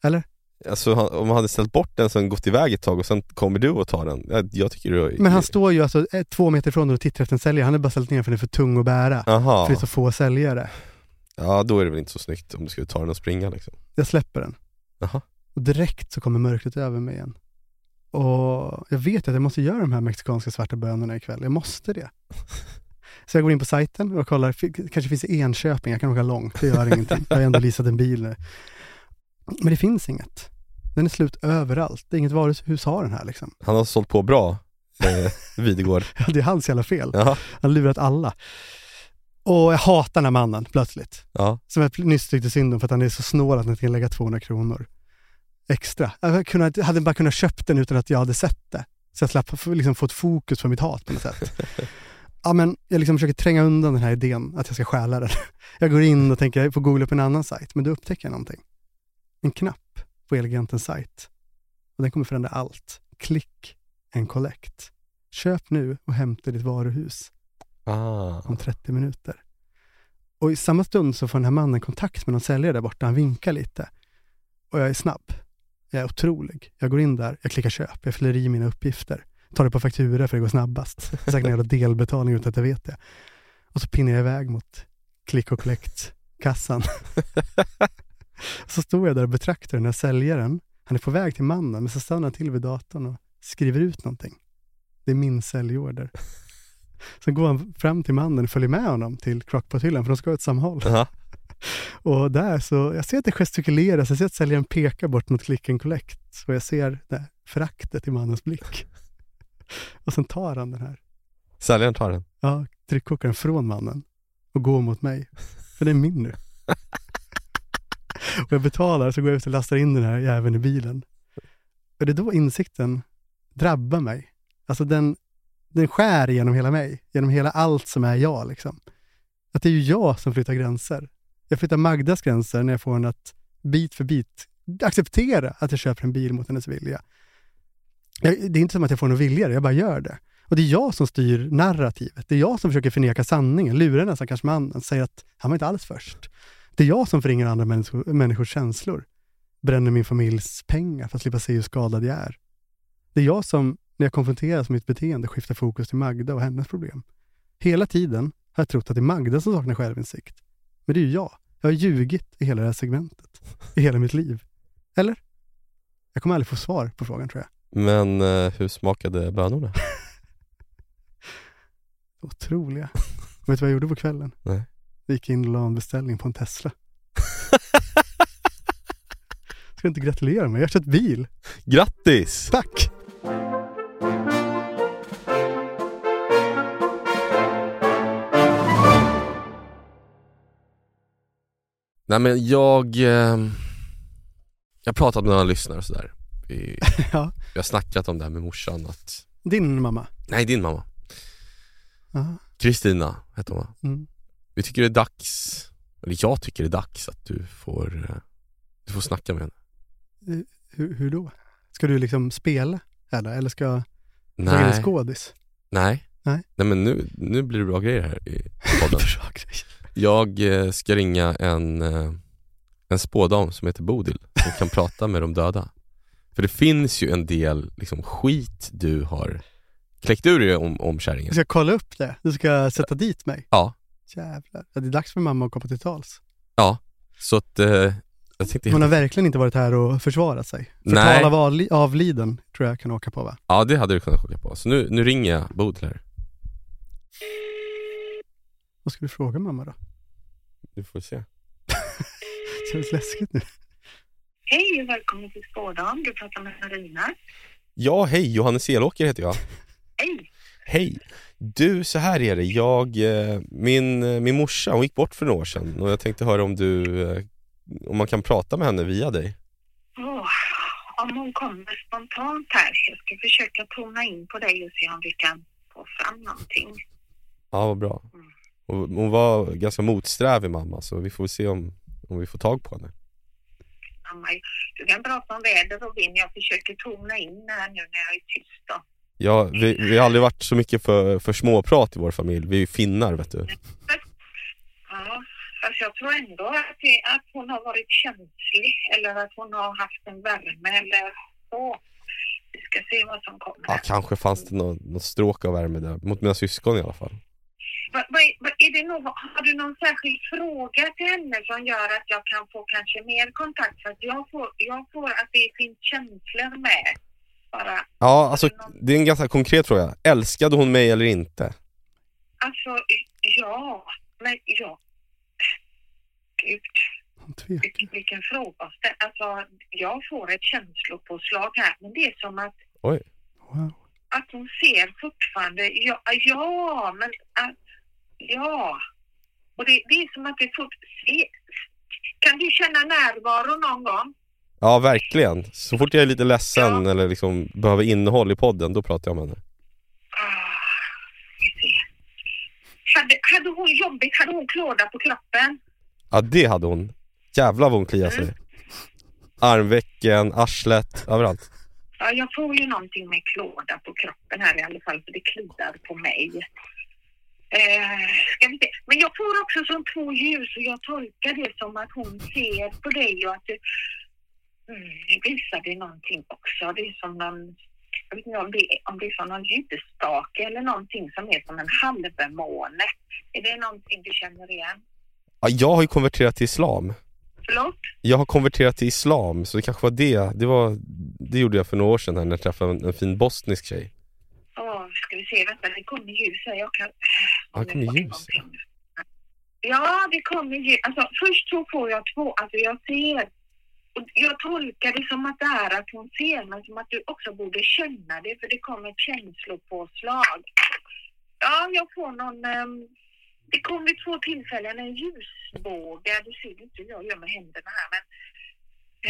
C: Eller?
B: Alltså han, om han hade ställt bort den sen gått iväg ett tag och sen kommer du och tar den. Jag, jag tycker du har-
C: Men han står ju alltså eh, två meter ifrån den och tittar efter en säljare. Han har bara ställt ner för den är för tung att bära.
B: Aha.
C: För det är så få säljare.
B: Ja då är det väl inte så snyggt om du skulle ta den och springa liksom.
C: Jag släpper den.
B: Jaha.
C: Och direkt så kommer mörkret över mig igen. Och jag vet att jag måste göra de här mexikanska svarta bönorna ikväll. Jag måste det. Så jag går in på sajten och kollar, Fi- kanske finns det Enköping, jag kan åka långt, det gör ingenting. Jag har ändå leasat en bil nu. Men det finns inget. Den är slut överallt. Det är inget varuhus har den här liksom.
B: Han har sålt på bra, eh, [LAUGHS] Videgård.
C: Ja, Det är hans jävla fel.
B: Jaha.
C: Han har lurat alla. Och jag hatar den här mannen plötsligt.
B: Ja.
C: Som jag nyss tyckte synd om för att han är så snål att han kan lägga 200 kronor extra. Jag hade kunnat- hade bara kunnat köpt den utan att jag hade sett det. Så jag slapp få- liksom, få ett fokus på mitt hat på något sätt. Ja, men jag liksom försöker tränga undan den här idén att jag ska stjäla den. [LAUGHS] Jag går in och tänker jag får googla på en annan sajt, men då upptäcker jag någonting. En knapp på Elgigantens sajt. Och den kommer förändra allt. Klick and collect. Köp nu och hämta ditt varuhus
B: Ah.
C: om 30 minuter. Och i samma stund så får den här mannen kontakt med någon säljare där borta. Han vinkar lite. Och jag är snabb. Jag är otrolig. Jag går in där, jag klickar köp, jag fyller i mina uppgifter. Tar det på faktura för det går snabbast. Det är Säkert en jävla delbetalning utan att jag vet det. Och så pinnar jag iväg mot klick och collect-kassan. så står jag där och betraktar den här säljaren. Han är på väg till mannen, men så stannar han till vid datorn och skriver ut någonting. Det är min säljorder. Sen går han fram till mannen och följer med honom till crockpothyllan, för de ska åt samma håll.
B: Jaha.
C: Och där så, jag ser att det gestikuleras, jag ser att säljaren pekar bort mot click and collect. Och jag ser det här föraktet i mannens blick. Och sen tar han den här
B: Säljaren tar den.
C: ja, tryckkokaren från mannen och går mot mig. För det är min nu. och jag betalar, så går jag ut och lastar in den här jäveln i bilen. Och det är då insikten drabbar mig. Alltså den, den skär genom hela mig, genom hela allt som är jag. Liksom. Att det är ju jag som flyttar gränser. Jag flyttar Magdas gränser när jag får henne att bit för bit acceptera att jag köper en bil mot hennes vilja. Jag, det är inte som att jag får någon vilja, jag bara gör det. Och det är jag som styr narrativet. Det är jag som försöker förneka sanningen, lurar den här stackars mannen, säger att han var inte alls först. Det är jag som förringar andra människor, människors känslor. Bränner min familjs pengar för att slippa se hur skadad jag är. Det är jag som, när jag konfronteras med mitt beteende, skiftar fokus till Magda och hennes problem. Hela tiden har jag trott att det är Magda som saknar självinsikt. Men det är ju jag. Jag har ljugit i hela det här segmentet. I hela mitt liv. Eller? Jag kommer aldrig få svar på frågan tror jag.
B: Men eh, hur smakade bönorna?
C: Otroliga. [LAUGHS] Vet du vad jag gjorde på kvällen?
B: Nej.
C: Jag gick in och la en beställning på
B: [LAUGHS]
C: en Tesla. Ska du inte gratulera mig? Jag har köpt bil.
B: Grattis!
C: Tack!
B: Nej men jag... Eh, jag har pratat med några lyssnare och sådär. Vi,
C: [LAUGHS] Ja.
B: Jag har snackat om det här med morsan att...
C: Din mamma.
B: Nej, din mamma.
C: Ja.
B: Kristina hette hon va?
C: Mm.
B: Vi tycker det är dags, eller jag tycker det är dags att du får, eh, du får snacka med henne.
C: Hur, hur då? Ska du liksom spela? Eller, eller ska jag ta in en
B: Nej.
C: skådis? [LAUGHS]
B: Nej.
C: Nej.
B: Nej men nu, nu blir det bra grejer här i
C: [LAUGHS]
B: podden.
C: Bra grej.
B: Jag eh, ska ringa en, eh, en spådam som heter Bodil som kan prata med de döda. För det finns ju en del liksom, skit du har kläckt ur dig om, om
C: Du
B: kärringen.
C: ska kolla upp det? Du ska sätta dit mig?
B: Ja.
C: Jävlar. Ja, Det är dags för mamma att komma till tals.
B: Så att eh, jag tänkte,
C: Hon har verkligen inte varit här och försvarat sig.
B: Nej.
C: Förtal av avli- avliden tror jag kan åka på va?
B: ja det hade du kunnat skicka på. Så nu, nu ringer jag Bodil här.
C: Vad ska du fråga mamma då?
B: Du får se.
C: Det känns läskigt nu.
D: Hej och välkommen till Skådan. Du pratar med Marina.
B: Ja hej, Johannes Elåker heter jag.
D: Hej!
B: Hej! Du, så här är det. Jag, eh, min, eh, min morsa hon gick bort för några år sedan och jag tänkte höra om du eh, om man kan prata med henne via dig.
D: Åh, om hon kommer spontant här. Jag ska försöka tona in på dig och se om vi kan få fram någonting.
B: Ja, vad bra. Och Hon var ganska motsträvig mamma så vi får se om, om vi får tag på henne.
D: Mamma, Du kan prata om väder och vind. Jag försöker tona in här nu när jag är tyst. Då.
B: Ja, vi, vi har aldrig varit så mycket för, för småprat i vår familj. Vi är ju finnar vet du.
D: Ja, Fast jag tror ändå att, det, att hon har varit känslig eller att hon har haft en värme eller så. Vi ska se vad som kommer.
B: Ja, kanske fanns det någon, någon stråk av värme där, mot mina syskon i alla fall.
D: Va, va, va, är det någon, har du någon särskild fråga till henne som gör att jag kan få kanske mer kontakt? För att jag får, jag får att det finns känslor med. Bara,
B: Ja, alltså det är en ganska konkret fråga. Älskade hon mig eller inte?
D: alltså, ja, men ja. Gud.
C: Hon tvekar.
D: Vilken, vilken fråga. Alltså, jag får ett känslopåslag här, men det är som att,
B: Oj.
C: Wow.
D: att hon ser fortfarande, ja, ja men att, ja. Och det, det är som att det fort, se, kan du känna närvaro någon gång?
B: Ja, verkligen. Så fort jag är lite ledsen
D: Ja.
B: eller liksom behöver innehåll i podden, då pratar jag med henne.
D: Ah, vi ser. Hade, hade hon jobbigt, hade hon klåda på kroppen?
B: Ja, det hade hon. Jävlar vad hon kliade sig. Armvecken, arslet, överallt.
D: Ja, jag får ju någonting med klåda på kroppen här i alla fall, för det kliar på mig. Eh, ska vi se. Men jag får också som två ljus och jag tolkar det som att hon ser på dig och att du mm, visar dig någonting också. Det är som någon, jag vet inte om det är, om det är som någon ljusstake eller någonting som är som en halvmåne. Är det någonting du känner igen?
B: Ja, jag har ju konverterat till islam.
D: Förlåt?
B: Jag har konverterat till islam, så det kanske var det. Det, var, det gjorde jag för några år sedan här, när jag träffade en, en fin bosnisk tjej.
D: Åh, ska vi se, vänta, det kommer ljus här. Jag kan...
B: Ja, det kommer ljus, ja.
D: Ja, det kommer ljus. Alltså, först så får jag två, alltså jag ser. Och jag tolkar det som att det är att hon ser, men som att du också borde känna det, för det kommer ett känslopåslag. Ja, jag får någon... ehm, det kom vid två tillfällen en ljusbåge. Du ser inte hur jag gör med händerna här, men...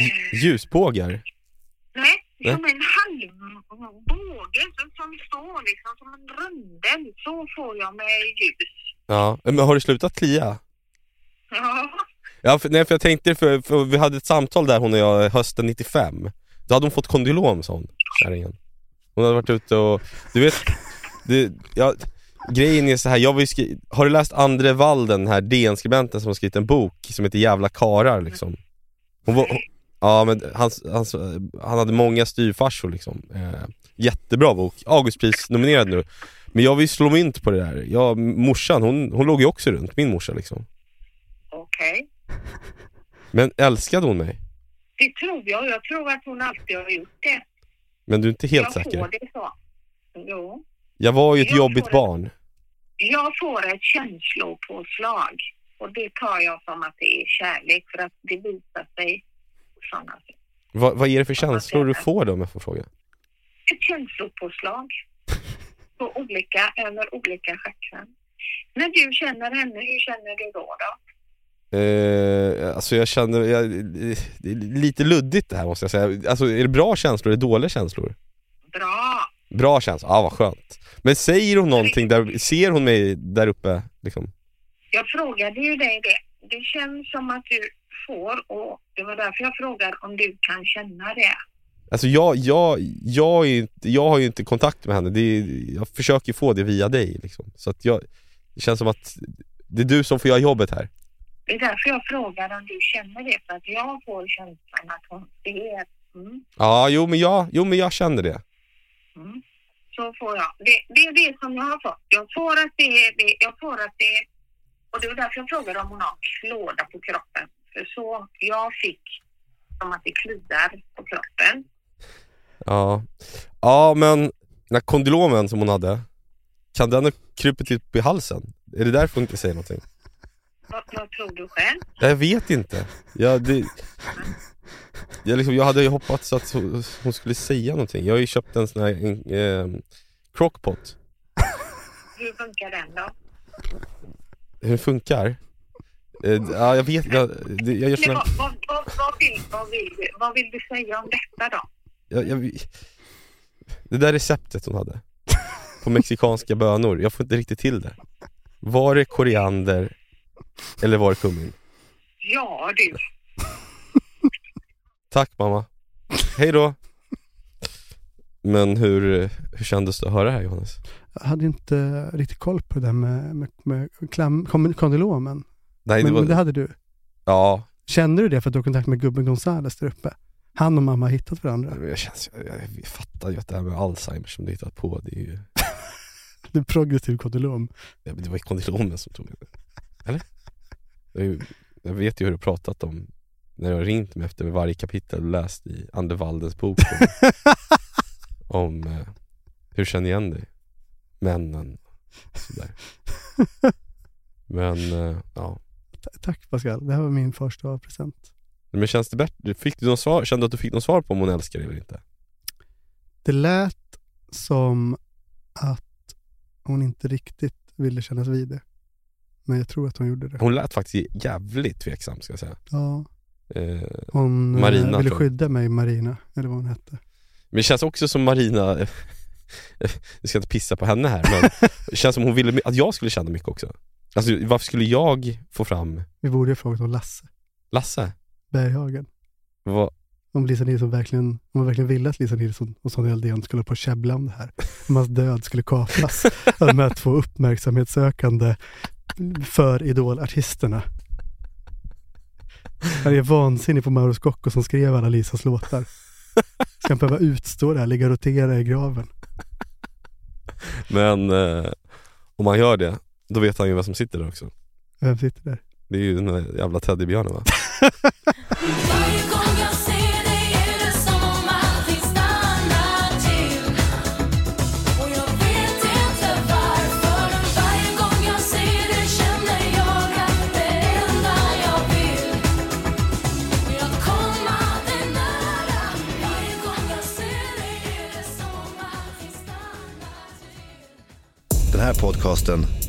D: eh,
B: Ljusbågar?
D: Nej,
B: Nej.
D: som en halvbåge som, som står liksom som en rundel. Så får jag med ljus. [LAUGHS]
B: Ja. Men har du slutat klia?
D: Ja,
B: Ja, för, nej, för jag tänkte, för, för vi hade ett samtal där hon och jag hösten 95. Då hade hon fått kondylom, sa hon, kärringen. Hon hade varit ute och, du vet, det, ja, grejen är så här, jag var ju skri- har du läst Andre Walden, den här DN-skribenten som har skrivit en bok som heter Jävla karar liksom? Hon var, hon, ja men hans, hans, han hade många styvfarsor liksom. Eh, jättebra bok, Augustpris nominerad nu. Men jag vill ju slå mynt på det där. Jag, morsan, hon, hon låg ju också runt, min morsa liksom.
D: okej.
B: Men älskade hon mig?
D: Det tror jag. Jag tror att hon alltid har gjort det.
B: Men du är inte helt
D: jag
B: säker?
D: får det så. Jo.
B: Jag var ju ett
D: Jag
B: jobbigt
D: får det.
B: barn.
D: Jag får ett känslopåslag och det tar jag som att det är kärlek för att det visar sig på sådana sätt.
B: Va, vad är det för
D: Ja,
B: känslor
D: det
B: du
D: är det.
B: får då om jag får fråga? [LAUGHS]
D: ett känslopåslag på olika, över olika chakran. När du känner henne, hur känner du då? då?
B: Eh, alltså jag känner, jag, det är lite luddigt det här måste jag säga. Alltså är det bra känslor eller dåliga känslor?
D: Bra!
B: Bra känslor, ah vad skönt. Men säger hon någonting, där, ser hon mig där uppe liksom?
D: Jag frågade ju dig det. Det känns som att du får och det var därför jag frågar om du kan känna det.
B: Alltså jag, jag, jag, är ju inte, jag har ju inte kontakt med henne, det är, jag försöker ju få det via dig liksom. Så att jag, det känns som att det är du som får göra jobbet här.
D: Det är därför jag frågar om du känner det, för att jag får känslan att hon ser. Mm,
B: Ja, jo men jag, jo men jag känner det.
D: mm. Så får jag. Det, det är det som jag har fått. Jag får att det är det. Jag får att det är... Och det var därför jag frågade om hon har klåda på kroppen. För så jag fick som att det kliar på kroppen.
B: Ja, ja men den här kondylomen som hon hade, kan den ha krupit upp i halsen? Är det därför hon inte säger någonting?
D: Vad, vad tror du själv?
B: Jag vet inte. Jag, det, jag, liksom, jag hade ju hoppats att hon- hon skulle säga någonting. Jag har ju köpt en sån här en, eh, crockpot.
D: Hur funkar den då?
B: Hur den funkar? Eh, ja, jag vet jag, det- jag, gör
D: Men
B: såna,
D: vad, vad, vad, vad, vill, vad, vill, du- vad vill du säga om detta då?
B: jag, jag, Det där receptet hon hade på mexikanska bönor, jag får inte riktigt till det. Var det koriander eller var det kummin?
D: Ja du,
B: Tack mamma. Hej då. Men hur, hur kändes det att höra det här Johannes?
C: Jag hade inte riktigt koll på det där med, med, med klam, kondylom, men
B: Nej,
C: Men,
B: det var,
C: men det hade du.
B: Ja,
C: Kände du det för att du har kontakt med gubben Gonzales där uppe? Han och mamma har hittat varandra.
B: men jag, känns, jag, jag, jag fattar ju att det här med Alzheimer som du hittat på, det, är ju,
C: Du är progressiv kondylom.
B: det det var ju kondylomen som tog det. Eller? Det är ju- Jag vet ju hur du pratat om när du har ringt mig efter varje kapitel du läst i Andervaldens bok om, om eh, hur jag känner igen dig. Männen, sådär. Men eh, ja.
C: Tack Pascal, det här var min första present.
B: Men känns det bättre? Fick du någon svar? Kände du att du fick någon svar på om hon älskar dig eller inte?
C: Det lät som att hon inte riktigt ville kännas vid det. Men jag tror att hon gjorde det.
B: Hon lät faktiskt jävligt tveksam ska jag säga.
C: Ja,
B: Eh,
C: hon eh,
B: Marina,
C: ville
B: tror jag.
C: skydda mig, Marina, eller vad hon hette.
B: Men det känns också som Marina, [LAUGHS] jag ska inte pissa på henne här, men det känns som hon ville att jag skulle känna mycket också. Alltså varför skulle jag få fram
C: Vi borde ju ha frågat om Lasse
B: Lasse?
C: Berghagen.
B: Vad,
C: Om Lisa Nilsson verkligen, om man verkligen ville att Lisa Nilsson och Sonja Aldén skulle hålla på och käbbla om det här. Om hans död skulle kapas av de här två uppmärksamhetssökande för idolartisterna. Jag är vansinnig på Mauro Scocco som skrev alla Lisas låtar. Ska han behöva utstå det här, ligga och rotera i graven?
B: men eh, om man gör det, då vet han ju vem som sitter där också.
C: Vem sitter där?
B: Det är ju den där jävla teddybjörnen va?
E: Varje gång jag ser dig är det som om allting stannar till Och jag vet inte varför men varje gång jag ser dig känner jag att det enda jag vill är att komma dig nära Varje gång jag ser dig är det som om allting stannar till
F: Den här podcasten